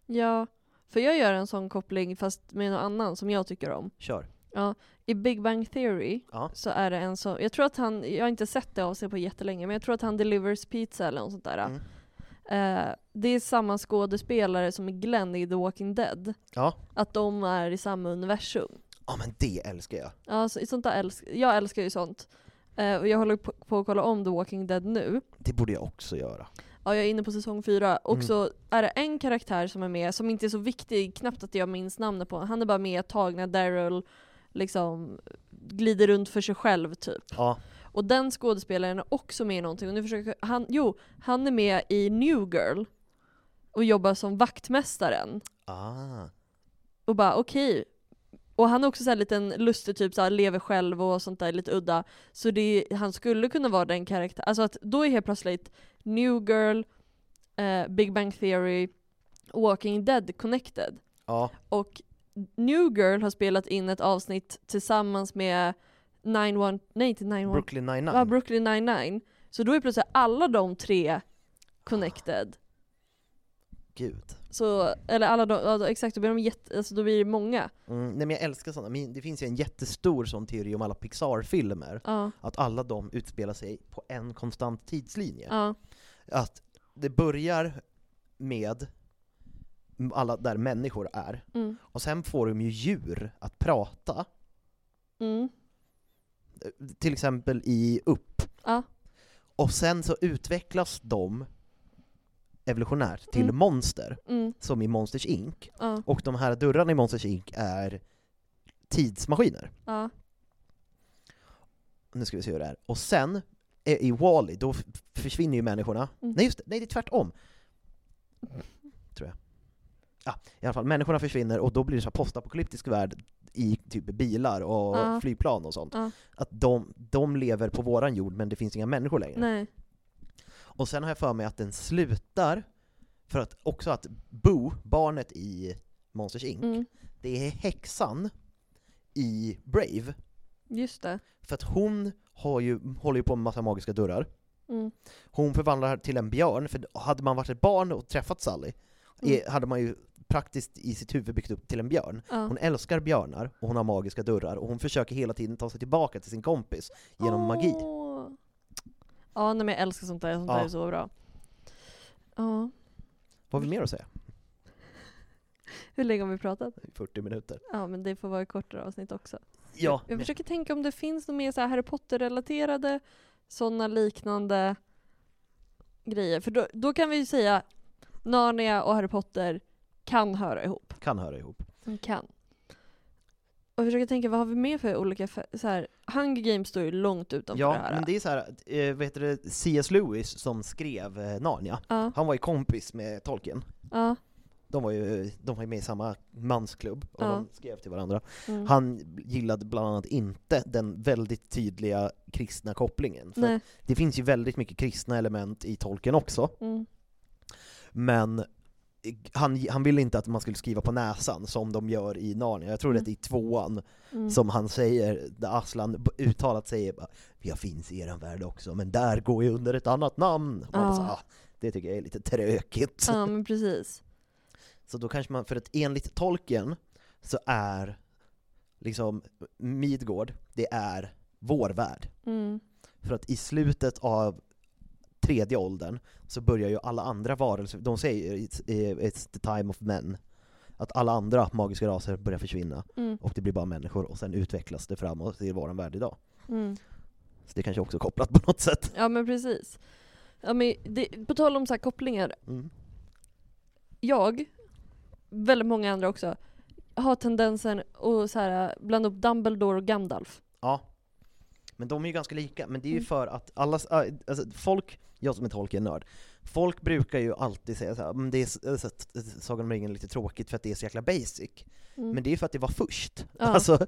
Ja, för jag gör en sån koppling fast med någon annan som jag tycker om.
Kör.
Ja, I Big Bang Theory
Ja.
så är det en som, jag tror att han, jag har inte sett det avsnittet på jättelänge, men jag tror att han delivers pizza eller något sånt där.
Mm.
Eh, det är samma skådespelare som är Glenn i The Walking Dead.
Ja.
Att de är i samma universum.
Ja men det älskar jag.
Ja, så, sånt där älsk, jag älskar ju sånt. Eh, och jag håller på, på att kolla om The Walking Dead nu.
Det borde jag också göra.
Ja, jag är inne på säsong fyra. Och
Mm.
så är det en karaktär som är med, som inte är så viktig, knappt att jag minns namnet på Han är bara med ett tag när Daryl liksom glider runt för sig själv typ.
Ja.
Och den skådespelaren är också med i någonting. Och nu försöker han, jo, han är med i New Girl och jobbar som vaktmästaren.
Ah.
Och bara okej. Och han är också så här liten lustig typ, så här, lever själv och sånt där lite udda. Så det, han skulle kunna vara den karaktären. Alltså att då är helt plötsligt New Girl, eh, Big Bang Theory, Walking Dead connected.
Ja.
Och New Girl har spelat in ett avsnitt tillsammans med 91, nej inte 91,
Brooklyn Nine-Nine.
Mm. Ja, Brooklyn 99. Så då är plötsligt alla de tre connected.
Gud.
Så, eller alla de, ja, då- exakt, då blir, de jätte, alltså, då blir det många.
Mm, nej men jag älskar sådana. Men Det finns ju en jättestor sån teori om alla Pixar-filmer.
Ja,
Att alla de utspelar sig på en konstant tidslinje.
ja,
att det börjar med alla där människor är,
mm,
och sen får de ju djur att prata.
mm,
Till exempel i Upp.
ja,
Och sen så utvecklas de evolutionärt till
Mm.
monster,
mm,
som i Monsters Inc.
ja,
Och de här dörrarna i Monsters Inc är tidsmaskiner.
ja,
Nu ska vi se hur det är. Och sen, eh, i Wall-E, då f- försvinner ju människorna.
Mm.
Nej just det, nej det är tvärtom. Tror jag. Ja, i alla fall, människorna försvinner och då blir det så här postapokalyptisk värld i typ bilar och
Ja.
flygplan och sånt.
Ja.
Att de, de lever på våran jord men det finns inga människor längre.
nej,
Och sen har jag för mig att den slutar, för att också att Boo, barnet i Monsters Inc,
mm,
det är häxan i Brave.
just det.
För att hon har ju, håller ju på med massa magiska dörrar.
Mm,
Hon förvandlar till en björn, för hade man varit ett barn och träffat Sally
Mm.
eh, hade man ju praktiskt i sitt huvud byggt upp till en björn.
ja.
Hon älskar björnar och hon har magiska dörrar och hon försöker hela tiden ta sig tillbaka till sin kompis genom magi.
Åh. Ja, nej, men jag älskar sånt där, sånt
Ja.
där är så bra. Ja,
Vad har vi mer att säga?
hur länge har vi pratat?
40 minuter.
Ja, men det får vara ett kortare avsnitt också.
Ja,
Jag försöker tänka om det finns något mer så här Harry Potter-relaterade sådana liknande grejer. För då, då kan vi ju säga Narnia och Harry Potter kan höra ihop.
kan höra ihop.
De kan. Och jag försöker tänka, vad har vi mer för olika... fä- Så här, Hunger Games står ju långt utanför
Ja,
det här.
men det är så här, eh, vad heter det, C.S. Lewis som skrev eh, Narnia,
Ja,
han var ju kompis med Tolkien.
ja,
de var ju, eh, de var ju med i samma mansklubb och
Ja.
de skrev till varandra.
Mm.
Han gillade bland annat inte den väldigt tydliga kristna kopplingen. För
Nej.
att det finns ju väldigt mycket kristna element i tolken också,
Mm.
men han, han ville inte att man skulle skriva på näsan som de gör i Narnia. Jag tror
Mm.
att det är i tvåan
Mm.
som han säger, där Aslan b- uttalat säger bara, jag finns i eran värld också, men där går jag under ett annat namn. Och man bara, så,
Ja.
ah, det tycker jag är lite trökigt.
Ja men precis.
Så då kanske man, för att enligt tolken så är liksom Midgård, det är vår värld.
Mm.
För att i slutet av tredje åldern så börjar ju alla andra varelser, de säger ju, it's, eh, it's the time of men, att alla andra magiska raser börjar försvinna
Mm.
och det blir bara människor och sen utvecklas det framåt till vår värld idag.
Mm.
Så det kanske också är kopplat på något sätt.
Ja men precis. Ja, men det, på tal om så här kopplingar,
Mm.
jag, väldigt många andra också, har tendensen att så här, blanda upp Dumbledore och Gandalf.
Ja. Men de är ju ganska lika, men det är ju
Mm.
för att alla, alltså folk, jag som är Tolkien-nörd, folk brukar ju alltid säga såhär, men det är äh, så, så, att Sagan om ringen är lite tråkigt för att det är så jäkla basic.
Mm.
Men det är ju för att det var först.
Ja.
Alltså,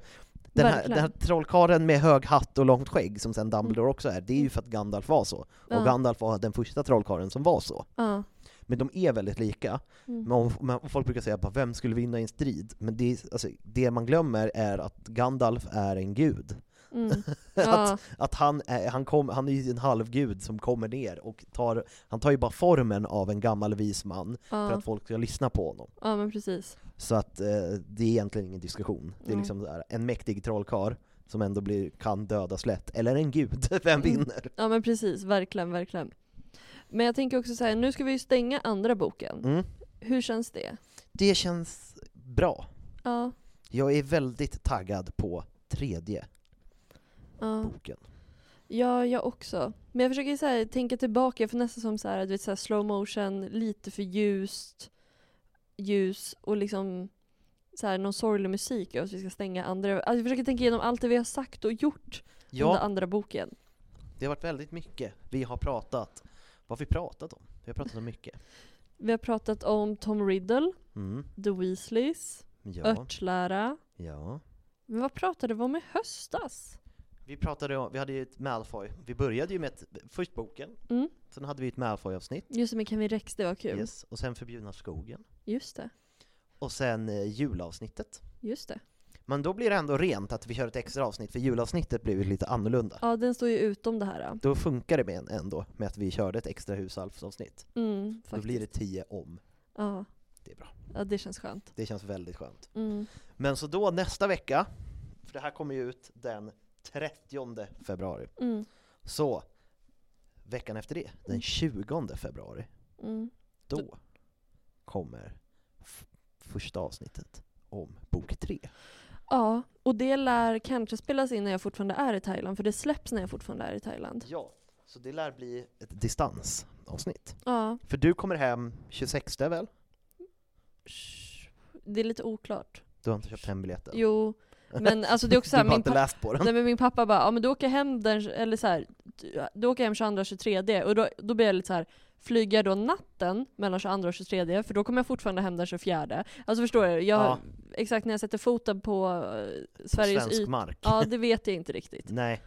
den här,
Verkligen. Mm.
den här trollkarlen med hög hatt och långt skägg som sen Dumbledore också är, det är ju för att Gandalf var så.
Ja.
Och Gandalf var den första trollkarlen som var så.
Ja.
Men de är väldigt lika.
Mm.
Men om, men folk brukar säga bara, vem skulle vinna i en strid? Men det, är- alltså, det man glömmer är att Gandalf är en gud.
Mm. Ja.
att att han, är, han, kom, han är ju en halvgud som kommer ner och tar, han tar ju bara formen av en gammal vis man
Ja.
för att folk ska lyssna på honom.
ja men precis.
Så att eh, det är egentligen ingen diskussion. Det är
Mm.
liksom så här, en mäktig trollkar som ändå blir, kan dödas lätt, eller en gud,
Mm.
vem vinner?
Ja men precis, verkligen, verkligen. Men jag tänker också så här, nu ska vi ju stänga andra boken.
Mm.
Hur känns det?
Det känns bra.
Ja,
Jag är väldigt taggad på tredje
ja.
boken.
ja jag också. Men jag försöker så här, tänka tillbaka, jag får nästan som så här, du vet, så här slow motion, lite för ljust, ljus och liksom så här, någon sorglig musik och att vi ska stänga andra. Alltså jag försöker tänka igenom allt det vi har sagt och gjort
Ja,
under andra boken.
det har varit väldigt mycket. Vi har pratat. Vad har vi pratat om? Vi har pratat om mycket.
Vi har pratat om Tom Riddle,
Mm.
The Weasleys,
Ja,
örtlära.
ja.
Men vad pratade vi om i höstas?
Vi pratade om, vi hade ju ett Malfoy. Vi började ju med ett, först boken,
Mm.
sen hade vi ett Malfoy-avsnitt.
Just det, med Kevin Rex, det var kul.
Yes. Och sen Förbjudna skogen.
Just det,
Och sen eh, julavsnittet.
just det.
Men då blir det ändå rent att vi kör ett extra avsnitt, för julavsnittet blev ju lite annorlunda.
Ja, den står ju utom det här. ja.
Då funkar det med en ändå, med att vi körde ett extra husalfsavsnitt.
Mm,
Då
faktiskt.
blir det tio om.
Ja.
Det är bra.
ja, det känns skönt.
Det känns väldigt skönt.
Mm.
Men så då nästa vecka, för det här kommer ju ut den 30 februari.
Mm.
Så veckan efter det, den 20 februari,
Mm.
då kommer f- första avsnittet om bok tre.
Ja, och det lär kanske spelas in när jag fortfarande är i Thailand, för det släpps när jag fortfarande är i Thailand.
Ja, så det lär bli ett distansavsnitt.
Ja,
För du kommer hem 26 väl?
sh- det är lite oklart.
Du har inte köpt hem biljetten?
Jo, men alltså det är också
Du
så
har
här,
bara
min,
inte
pa-
läst på den?
nej, men min pappa bara, ja men du åker hem den, eller så här, du- du åker hem 22-23 och då, då blir jag lite så här flyger jag då natten mellan 22 och 23 för då kommer jag fortfarande hem den 24. Alltså förstår du? Jag,
Ja.
Exakt när jag sätter foten på eh, Sveriges
Svensk
yta.
mark?
Ja, det vet jag inte riktigt.
Nej.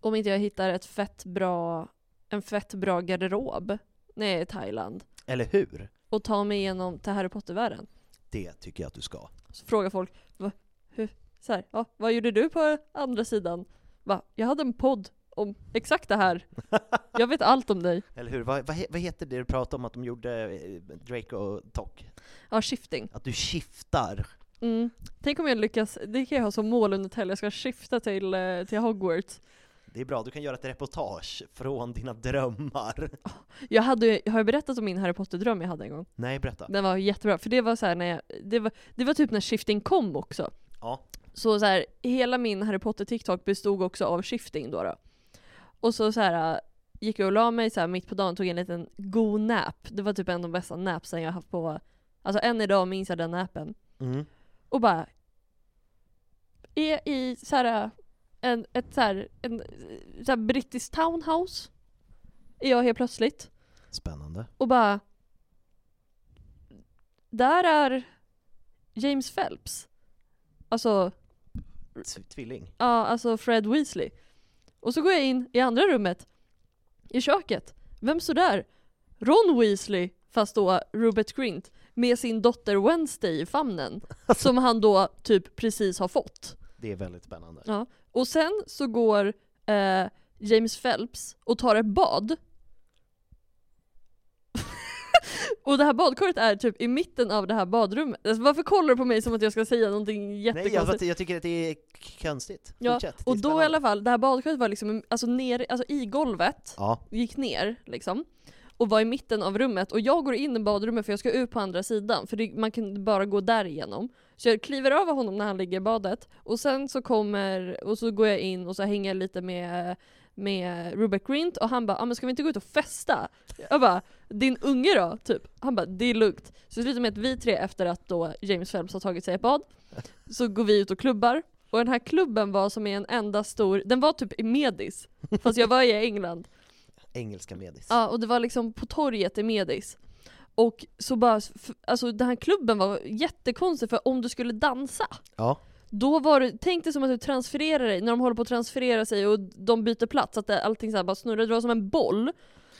Om inte jag hittar ett fett bra, en fett bra garderob när jag är i Thailand
Eller hur?
och tar mig igenom till Harry Potter-världen.
Det tycker jag att du ska.
Så frågar folk, Va, hur, så här, ja, vad gjorde du på andra sidan? Va, jag hade en podd om exakt det här. Jag vet allt om dig.
Eller hur? Vad, vad, he- vad heter det du pratade om att de gjorde eh, Drake och Tock?
Ja, shifting.
Att du skiftar?
Mm. Tänk om jag lyckas, det kan jag ha som mål under helgen, jag ska skifta till, eh, till Hogwarts.
Det är bra, du kan göra ett reportage från dina drömmar.
Jag hade, har jag berättat om min Harry Potter-dröm jag hade en gång?
Nej, berätta.
Den var jättebra, för det var så här när jag, det var, det var typ när shifting kom också.
Ja.
Så, så här, hela min Harry Potter TikTok bestod också av shifting då. då. Och så, så här äh, gick jag och la mig så här, mitt på dagen, tog en liten god nap. Det var typ en av de bästa napsen jag haft på, alltså än idag minns jag den napen.
Mm.
Och bara är i så här, äh, en, ett så här, en så här brittisk townhouse. Är jag helt plötsligt.
Spännande.
Och bara där är James Phelps. Alltså,
Tvilling.
ja alltså Fred Weasley. Och så går jag in i andra rummet, i köket. Vem står där? Ron Weasley, fast då Rupert Grint, med sin dotter Wednesday i famnen.
Alltså.
som han då typ precis har fått.
Det är väldigt spännande.
Ja. Och sen så går eh, James Phelps och tar ett bad. och det här badkaret är typ i mitten av det här badrummet. Alltså, varför kollar du på mig som att jag ska säga någonting
Nej, jag,
jättekonstigt?
jag tycker att det är k- konstigt.
Ja,
Fortsätt, det är
och då i
spännande.
alla fall, det här badkaret var liksom alltså, ner, alltså i golvet,
Ja.
gick ner liksom, och var i mitten av rummet. Och jag går in i badrummet för jag ska ut på andra sidan, för det, man kan bara gå därigenom. Så jag kliver över honom när han ligger i badet, och sen så kommer, och så går jag in och så hänger jag lite med med Rupert Grint och han bara ah, men ska vi inte gå ut och festa?” Jag bara “Din unge då?” typ. Han bara “Det är lugnt”. Så det slutar med att vi tre efter att då James Phelps har tagit sig ett bad, så går vi ut och klubbar. Och den här klubben var som i en enda stor, den var typ i Medis, fast jag var i England.
Engelska medis.
Ja, och det var liksom på torget i Medis. Och så bara, f- alltså den här klubben var jättekonstig för om du skulle dansa,
Ja.
då var du, tänk dig som att du transfererar dig, när de håller på att transferera sig och de byter plats, att det, allting så här bara snurrar, det var som en boll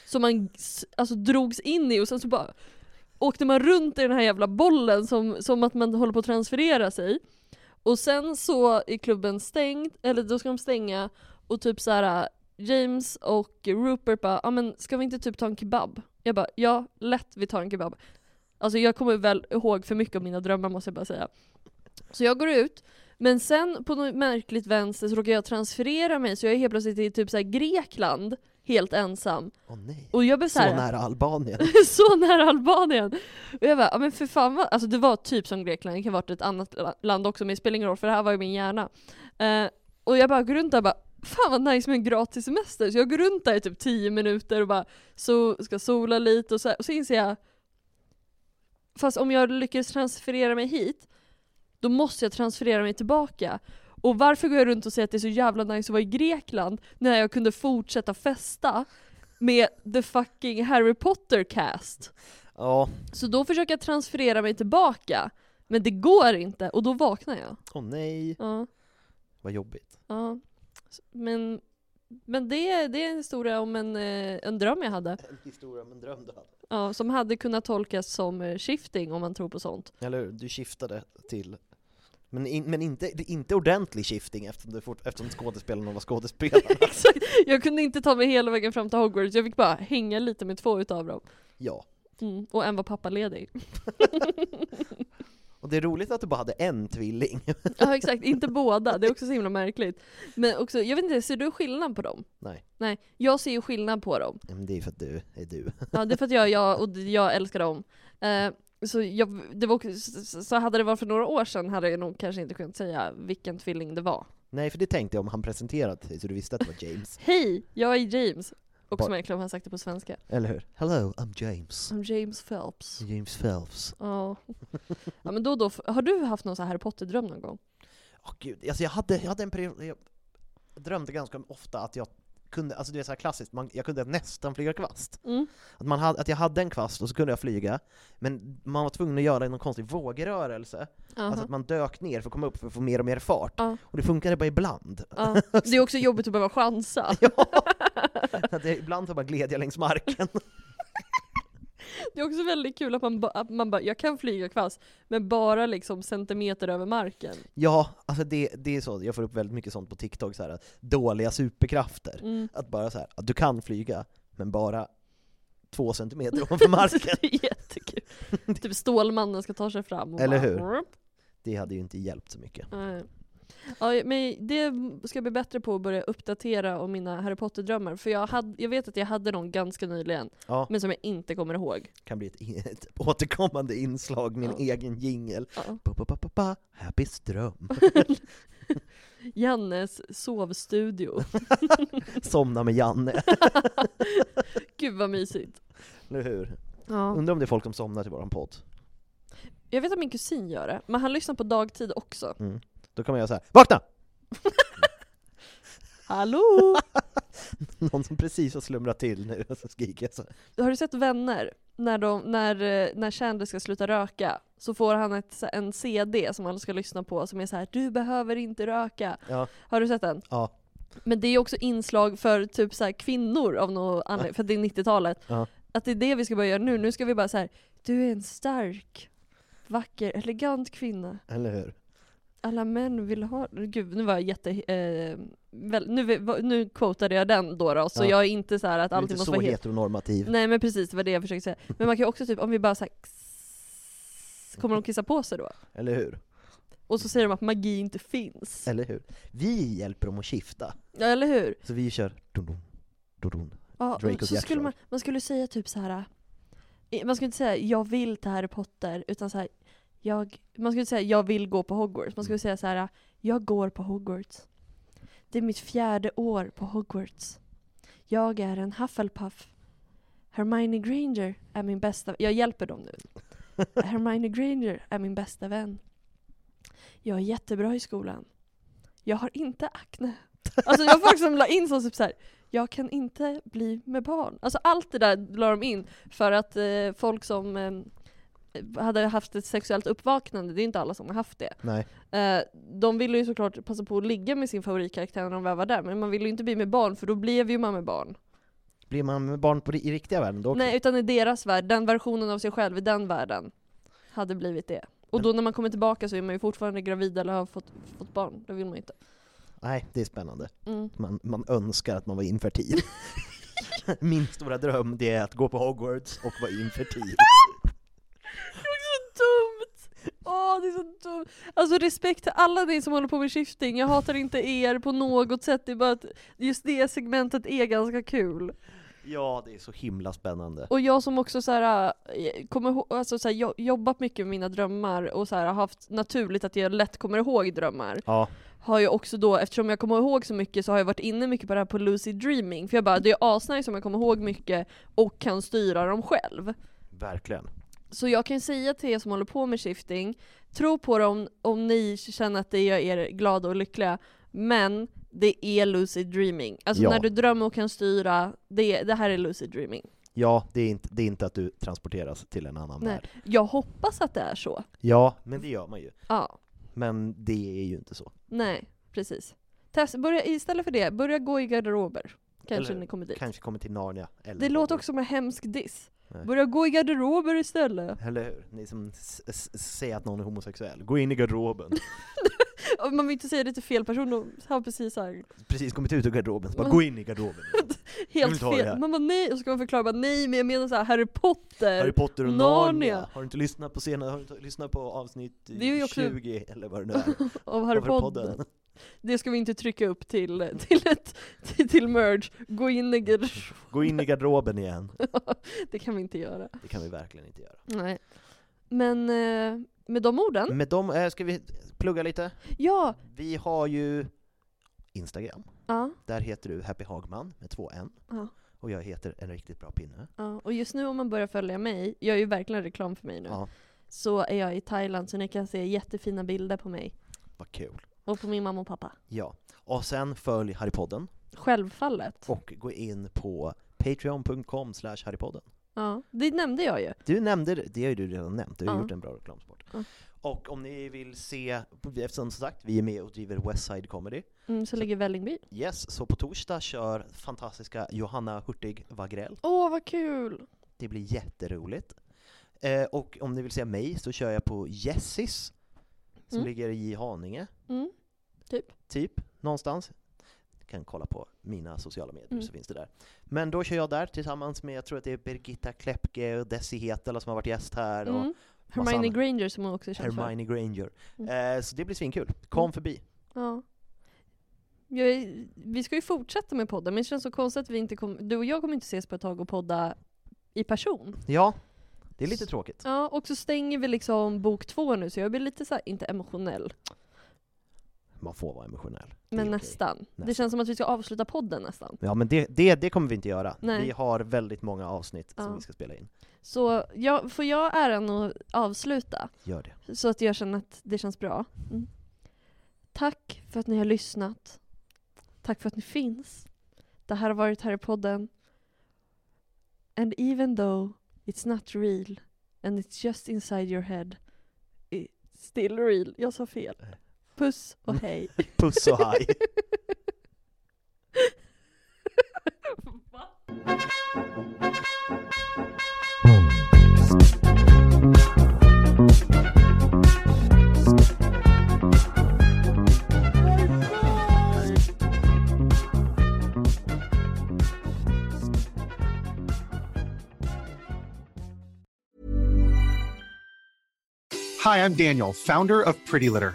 som man s- alltså, drogs in i och sen så bara åkte man runt i den här jävla bollen som, som att man håller på att transferera sig. Och sen så är klubben stängd, eller då ska de stänga, och typ så här James och Rupert bara ah, men ska vi inte typ ta en kebab?” Jag bara “Ja, lätt vi tar en kebab”. Alltså jag kommer väl ihåg för mycket av mina drömmar måste jag bara säga. Så jag går ut, men sen på något märkligt vänster så råkar jag transferera mig så jag är helt plötsligt i typ så här Grekland, helt ensam.
Åh nej.
Och jag blir
Så
så här,
nära Albanien.
så nära Albanien! Och jag bara, "Ja, men för fan vad, alltså det var typ som Grekland, det kan ha varit ett annat la- land också men det spelar ingen roll för det här var ju min hjärna. Eh, och jag bara går runt där och bara, fan vad nice med en gratis semester. Så jag går runt där i typ 10 minuter och bara, so, ska sola lite och så, här, och så inser jag, fast om jag lyckas transferera mig hit, då måste jag transferera mig tillbaka. Och varför går jag runt och säger att det är så jävla nice att vara i Grekland när jag kunde fortsätta festa med the fucking Harry Potter cast?
Ja.
Så då försöker jag transferera mig tillbaka, men det går inte och då vaknar jag.
Åh nej.
Ja,
Vad jobbigt.
ja. S- Men, men det, det är en historia om en, eh, en dröm jag hade,
En historia om en dröm du hade.
ja, som hade kunnat tolkas som eh, shifting om man tror på sånt.
Eller hur? Du skiftade till men, in, men inte, det är inte ordentlig shifting eftersom, du fort, eftersom skådespelarna var skådespelare.
Exakt. Jag kunde inte ta mig hela vägen fram till Hogwarts, jag fick bara hänga lite med två utav dem.
ja.
Mm. Och en var pappaledig.
Och det är roligt att du bara hade en tvilling.
Ja exakt, inte båda. Det är också så himla märkligt. Men också, jag vet inte, ser du skillnad på dem?
Nej.
Nej, jag ser ju skillnad på dem.
Men det är för att du är du.
Ja, det är för att jag är jag och jag älskar dem. Eh, så, jag, det var, också- så- så hade det varit för några år sedan hade jag nog kanske inte kunnat säga vilken tvilling det var.
Nej, för det tänkte jag om han presenterat sig så du visste att det var James.
Hej, jag är James. Och
Ba-
som egentligen har han sagt det på svenska.
Eller hur? Hello, I'm James.
Som James Phelps.
James Phelps.
Ja. ja men då och då, har du haft någon sån här Harry Potter-dröm någon gång?
Åh gud, alltså jag hade, jag hade en period, jag drömde ganska ofta att jag kunde, alltså det är så här klassiskt, man, jag kunde nästan flyga kvast.
Mm.
Att, man hade, att jag hade en kvast och så kunde jag flyga, men man var tvungen att göra någon konstig vågrörelse. Alltså att man dök ner för att komma upp för att få mer och mer fart.
Ja.
Och det funkade bara ibland.
Ja. Det är också jobbigt att behöva chansa.
Att det, ibland så bara gled jag längs marken.
Det är också väldigt kul att man, ba, att man bara, jag kan flyga kvast, men bara liksom centimeter över marken.
Ja, alltså det, det är så, jag får upp väldigt mycket sånt på TikTok, så här, dåliga superkrafter.
Mm.
Att bara så här, att du kan flyga, men bara två centimeter ovanför marken.
det är jättekul. typ Stålmannen ska ta sig fram och
Eller
bara,
hur?
"Rup."
Det hade ju inte hjälpt så mycket.
Nej. Ja, men det ska jag bli bättre på att börja uppdatera om mina Harry Potter-drömmar. För jag, hade, jag vet att jag hade någon ganska nyligen,
Ja.
men som jag inte kommer ihåg.
kan bli ett, in- ett återkommande inslag, min
Ja.
egen jingel.
Ja.
Ba-ba-ba-ba-ba, Happys dröm.
Jannes sovstudio.
Somna med Janne,
Gud vad mysigt.
eller hur?
Ja.
Undrar om det är folk som somnar till våran podd.
Jag vet att min kusin gör det, men han lyssnar på dagtid också.
Mm. Då kan man göra så här. VAKNA!
Hallå!
Någon som precis har slumrat till nu och så skriker jag så.
Har du sett Vänner? När, de, när, eh, när Chandler ska sluta röka så får han ett, så- en CD som han ska lyssna på som är så här: du behöver inte röka.
Ja.
Har du sett den?
Ja.
Men det är också inslag för typ så här kvinnor av någon anledning, för att det är 90-talet.
Ja.
Att det är det vi ska börja göra nu. Nu ska vi bara så här: du är en stark, vacker, elegant kvinna.
Eller hur?
Alla män vill ha... Gud, nu var jag jätte... Eh, väl, nu, nu quotade jag den då, då så
Ja.
jag är inte så här att
Du är
allting
inte
måste
så
vara helt...
heteronormativ.
Nej men precis, det var det jag försökte säga. Men man kan ju också typ, om vi bara såhär Kommer de kissa på sig då?
Eller hur?
Och så säger de att magi inte finns.
Eller hur? Vi hjälper dem att skifta.
Ja eller hur?
Så vi kör dun-dun, dun-dun.
Ja,
Dracos
så skulle
hjärtslag.
man, man skulle säga typ så här. eh, Man skulle inte säga jag vill till Harry Potter, utan så här, jag, man skulle inte säga jag vill gå på Hogwarts. Man skulle säga så här. jag går på Hogwarts. Det är mitt fjärde år på Hogwarts. Jag är en Hufflepuff. Hermione Granger är min bästa Jag hjälper dem nu. Hermione Granger är min bästa vän. Jag är jättebra i skolan. Jag har inte akne. Alltså jag folk som la in som typ så här. jag kan inte bli med barn. Alltså allt det där la de in för att eh, folk som eh, hade haft ett sexuellt uppvaknande, det är inte alla som har haft det.
Nej.
Eh, de ville ju såklart passa på att ligga med sin favoritkaraktär när de väl var där, men man ville ju inte bli med barn för då blev ju man med barn.
Blir man med barn på, i riktiga världen då? också?
Nej, utan i deras värld, den versionen av sig själv i den världen hade blivit det. Och då när man kommer tillbaka så är man ju fortfarande gravid eller har fått, fått barn, det vill man ju inte.
Nej, det är spännande.
Mm.
Man, man önskar att man var infertil. Min stora dröm det är att gå på Hogwarts och vara infertil.
Det är också så dumt! Åh, det är så dumt. Alltså respekt till alla ni som håller på med shifting, jag hatar inte er på något sätt, det är bara att just det segmentet är ganska kul.
Ja, det är så himla spännande.
Och jag som också så här, eh, kommer ihåg, alltså så här, jo- jobbat mycket med mina drömmar och så här, har haft naturligt att jag lätt kommer ihåg drömmar.
Ja.
Har jag också då, eftersom jag kommer ihåg så mycket så har jag varit inne mycket på det här på lucid dreaming. För jag bara, det är asnice om jag kommer ihåg mycket och kan styra dem själv.
Verkligen.
Så jag kan ju säga till er som håller på med shifting, tro på det om, om ni känner att det gör er glada och lyckliga. Men det är lucid dreaming. Alltså
Ja.
när du drömmer och kan styra, det, det här är lucid dreaming.
Ja, det är, inte, det är inte att du transporteras till en annan
Nej.
värld.
Jag hoppas att det är så.
Ja, men det gör man ju.
Ja,
Men det är ju inte så.
nej, precis. Test, börja, istället för det, börja gå i garderober. Kanske
Eller
ni kommer dit.
Kanske kommer till Narnia. Eller
Det låter
Hogwarts.
också som en hemsk diss.
Nej.
Börja gå i garderober istället.
Eller hur? Ni som s- s- säger att någon är homosexuell, gå in i garderoben.
Och Man vill inte säga det till fel person, de har precis så här,
Precis kommit ut ur garderoben, så
Mm.
bara gå in i garderoben. Jag vill
helt
ta det här.
fel. Man bara nej, och så ska man förklara bara, nej men jag menar så här, Harry Potter.
Harry Potter och Narnia.
Narnia.
Har du inte lyssnat på sena, har du inte lyssnat på avsnitt
Det är ju också-
20 eller vad det nu är?
av Harry Potter. Det ska vi inte trycka upp till, till, ett, till, till merge. Gå in i garderober.
Gå in i garderoben igen.
Det kan vi inte göra.
Det kan vi verkligen inte göra.
Nej. Men eh, med de orden,
Med dem, eh, ska vi plugga lite?
ja.
Vi har ju Instagram.
ja.
Där heter du Happy Hagman med två N.
Ja.
Och jag heter En riktigt bra pinne.
Ja, och just nu om man börjar följa mig, jag är ju verkligen reklam för mig nu,
Ja,
så är jag i Thailand så ni kan se jättefina bilder på mig.
vad kul.
Och på min mamma och pappa.
Ja. Och sen följ Harrypodden
Självfallet.
och gå in på patreon.com slash harrypodden.
Ja, det nämnde jag ju.
Du nämnde det, det har ju du redan nämnt, du har
Ja.
gjort en bra reklamsport.
Ja.
Och om ni vill se, eftersom som sagt vi är med och driver Westside Comedy,
Mm, så ligger Vällingby.
yes, så på torsdag kör fantastiska Johanna Hurtig Wagrell.
Åh, vad kul!
Det blir jätteroligt. Eh, och om ni vill se mig så kör jag på Jessis, som
Mm.
ligger i Haninge,
Mm. Typ.
typ, någonstans. Ni kan kolla på mina sociala medier
Mm.
så finns det där. Men då kör jag där tillsammans med, jag tror att det är Birgitta Kläppke och Desi Hetala som har varit gäst här. Och
Mm. Hermione
annat.
Granger som hon också är känd för.
Hermione Granger. Eh, så det blir svinkul. Kom
Mm.
förbi.
Ja. Jag, är- vi ska ju fortsätta med podden, men det känns så konstigt att vi inte kommer, du och jag kommer inte ses på ett tag och podda i person.
Ja, det är lite tråkigt.
Ja, och så stänger vi liksom bok två nu, så jag blir lite så här, inte emotionell,
Man får vara emotionell. Det är
men
okej.
nästan. Det känns som att vi ska avsluta podden nästan.
Ja men det, det, det kommer vi inte göra.
Nej.
Vi har väldigt många avsnitt
Ja.
som vi ska spela in.
Så jag, får jag äran att avsluta?
Gör det.
Så att jag känner att det känns bra. Mm. Tack för att ni har lyssnat. Tack för att ni finns. Det här har varit här i podden. And even though it's not real and it's just inside your head, it's still real. Jag sa fel. Puss och hej.
Puss och hej.
Hi, I'm Daniel, founder of Pretty Litter.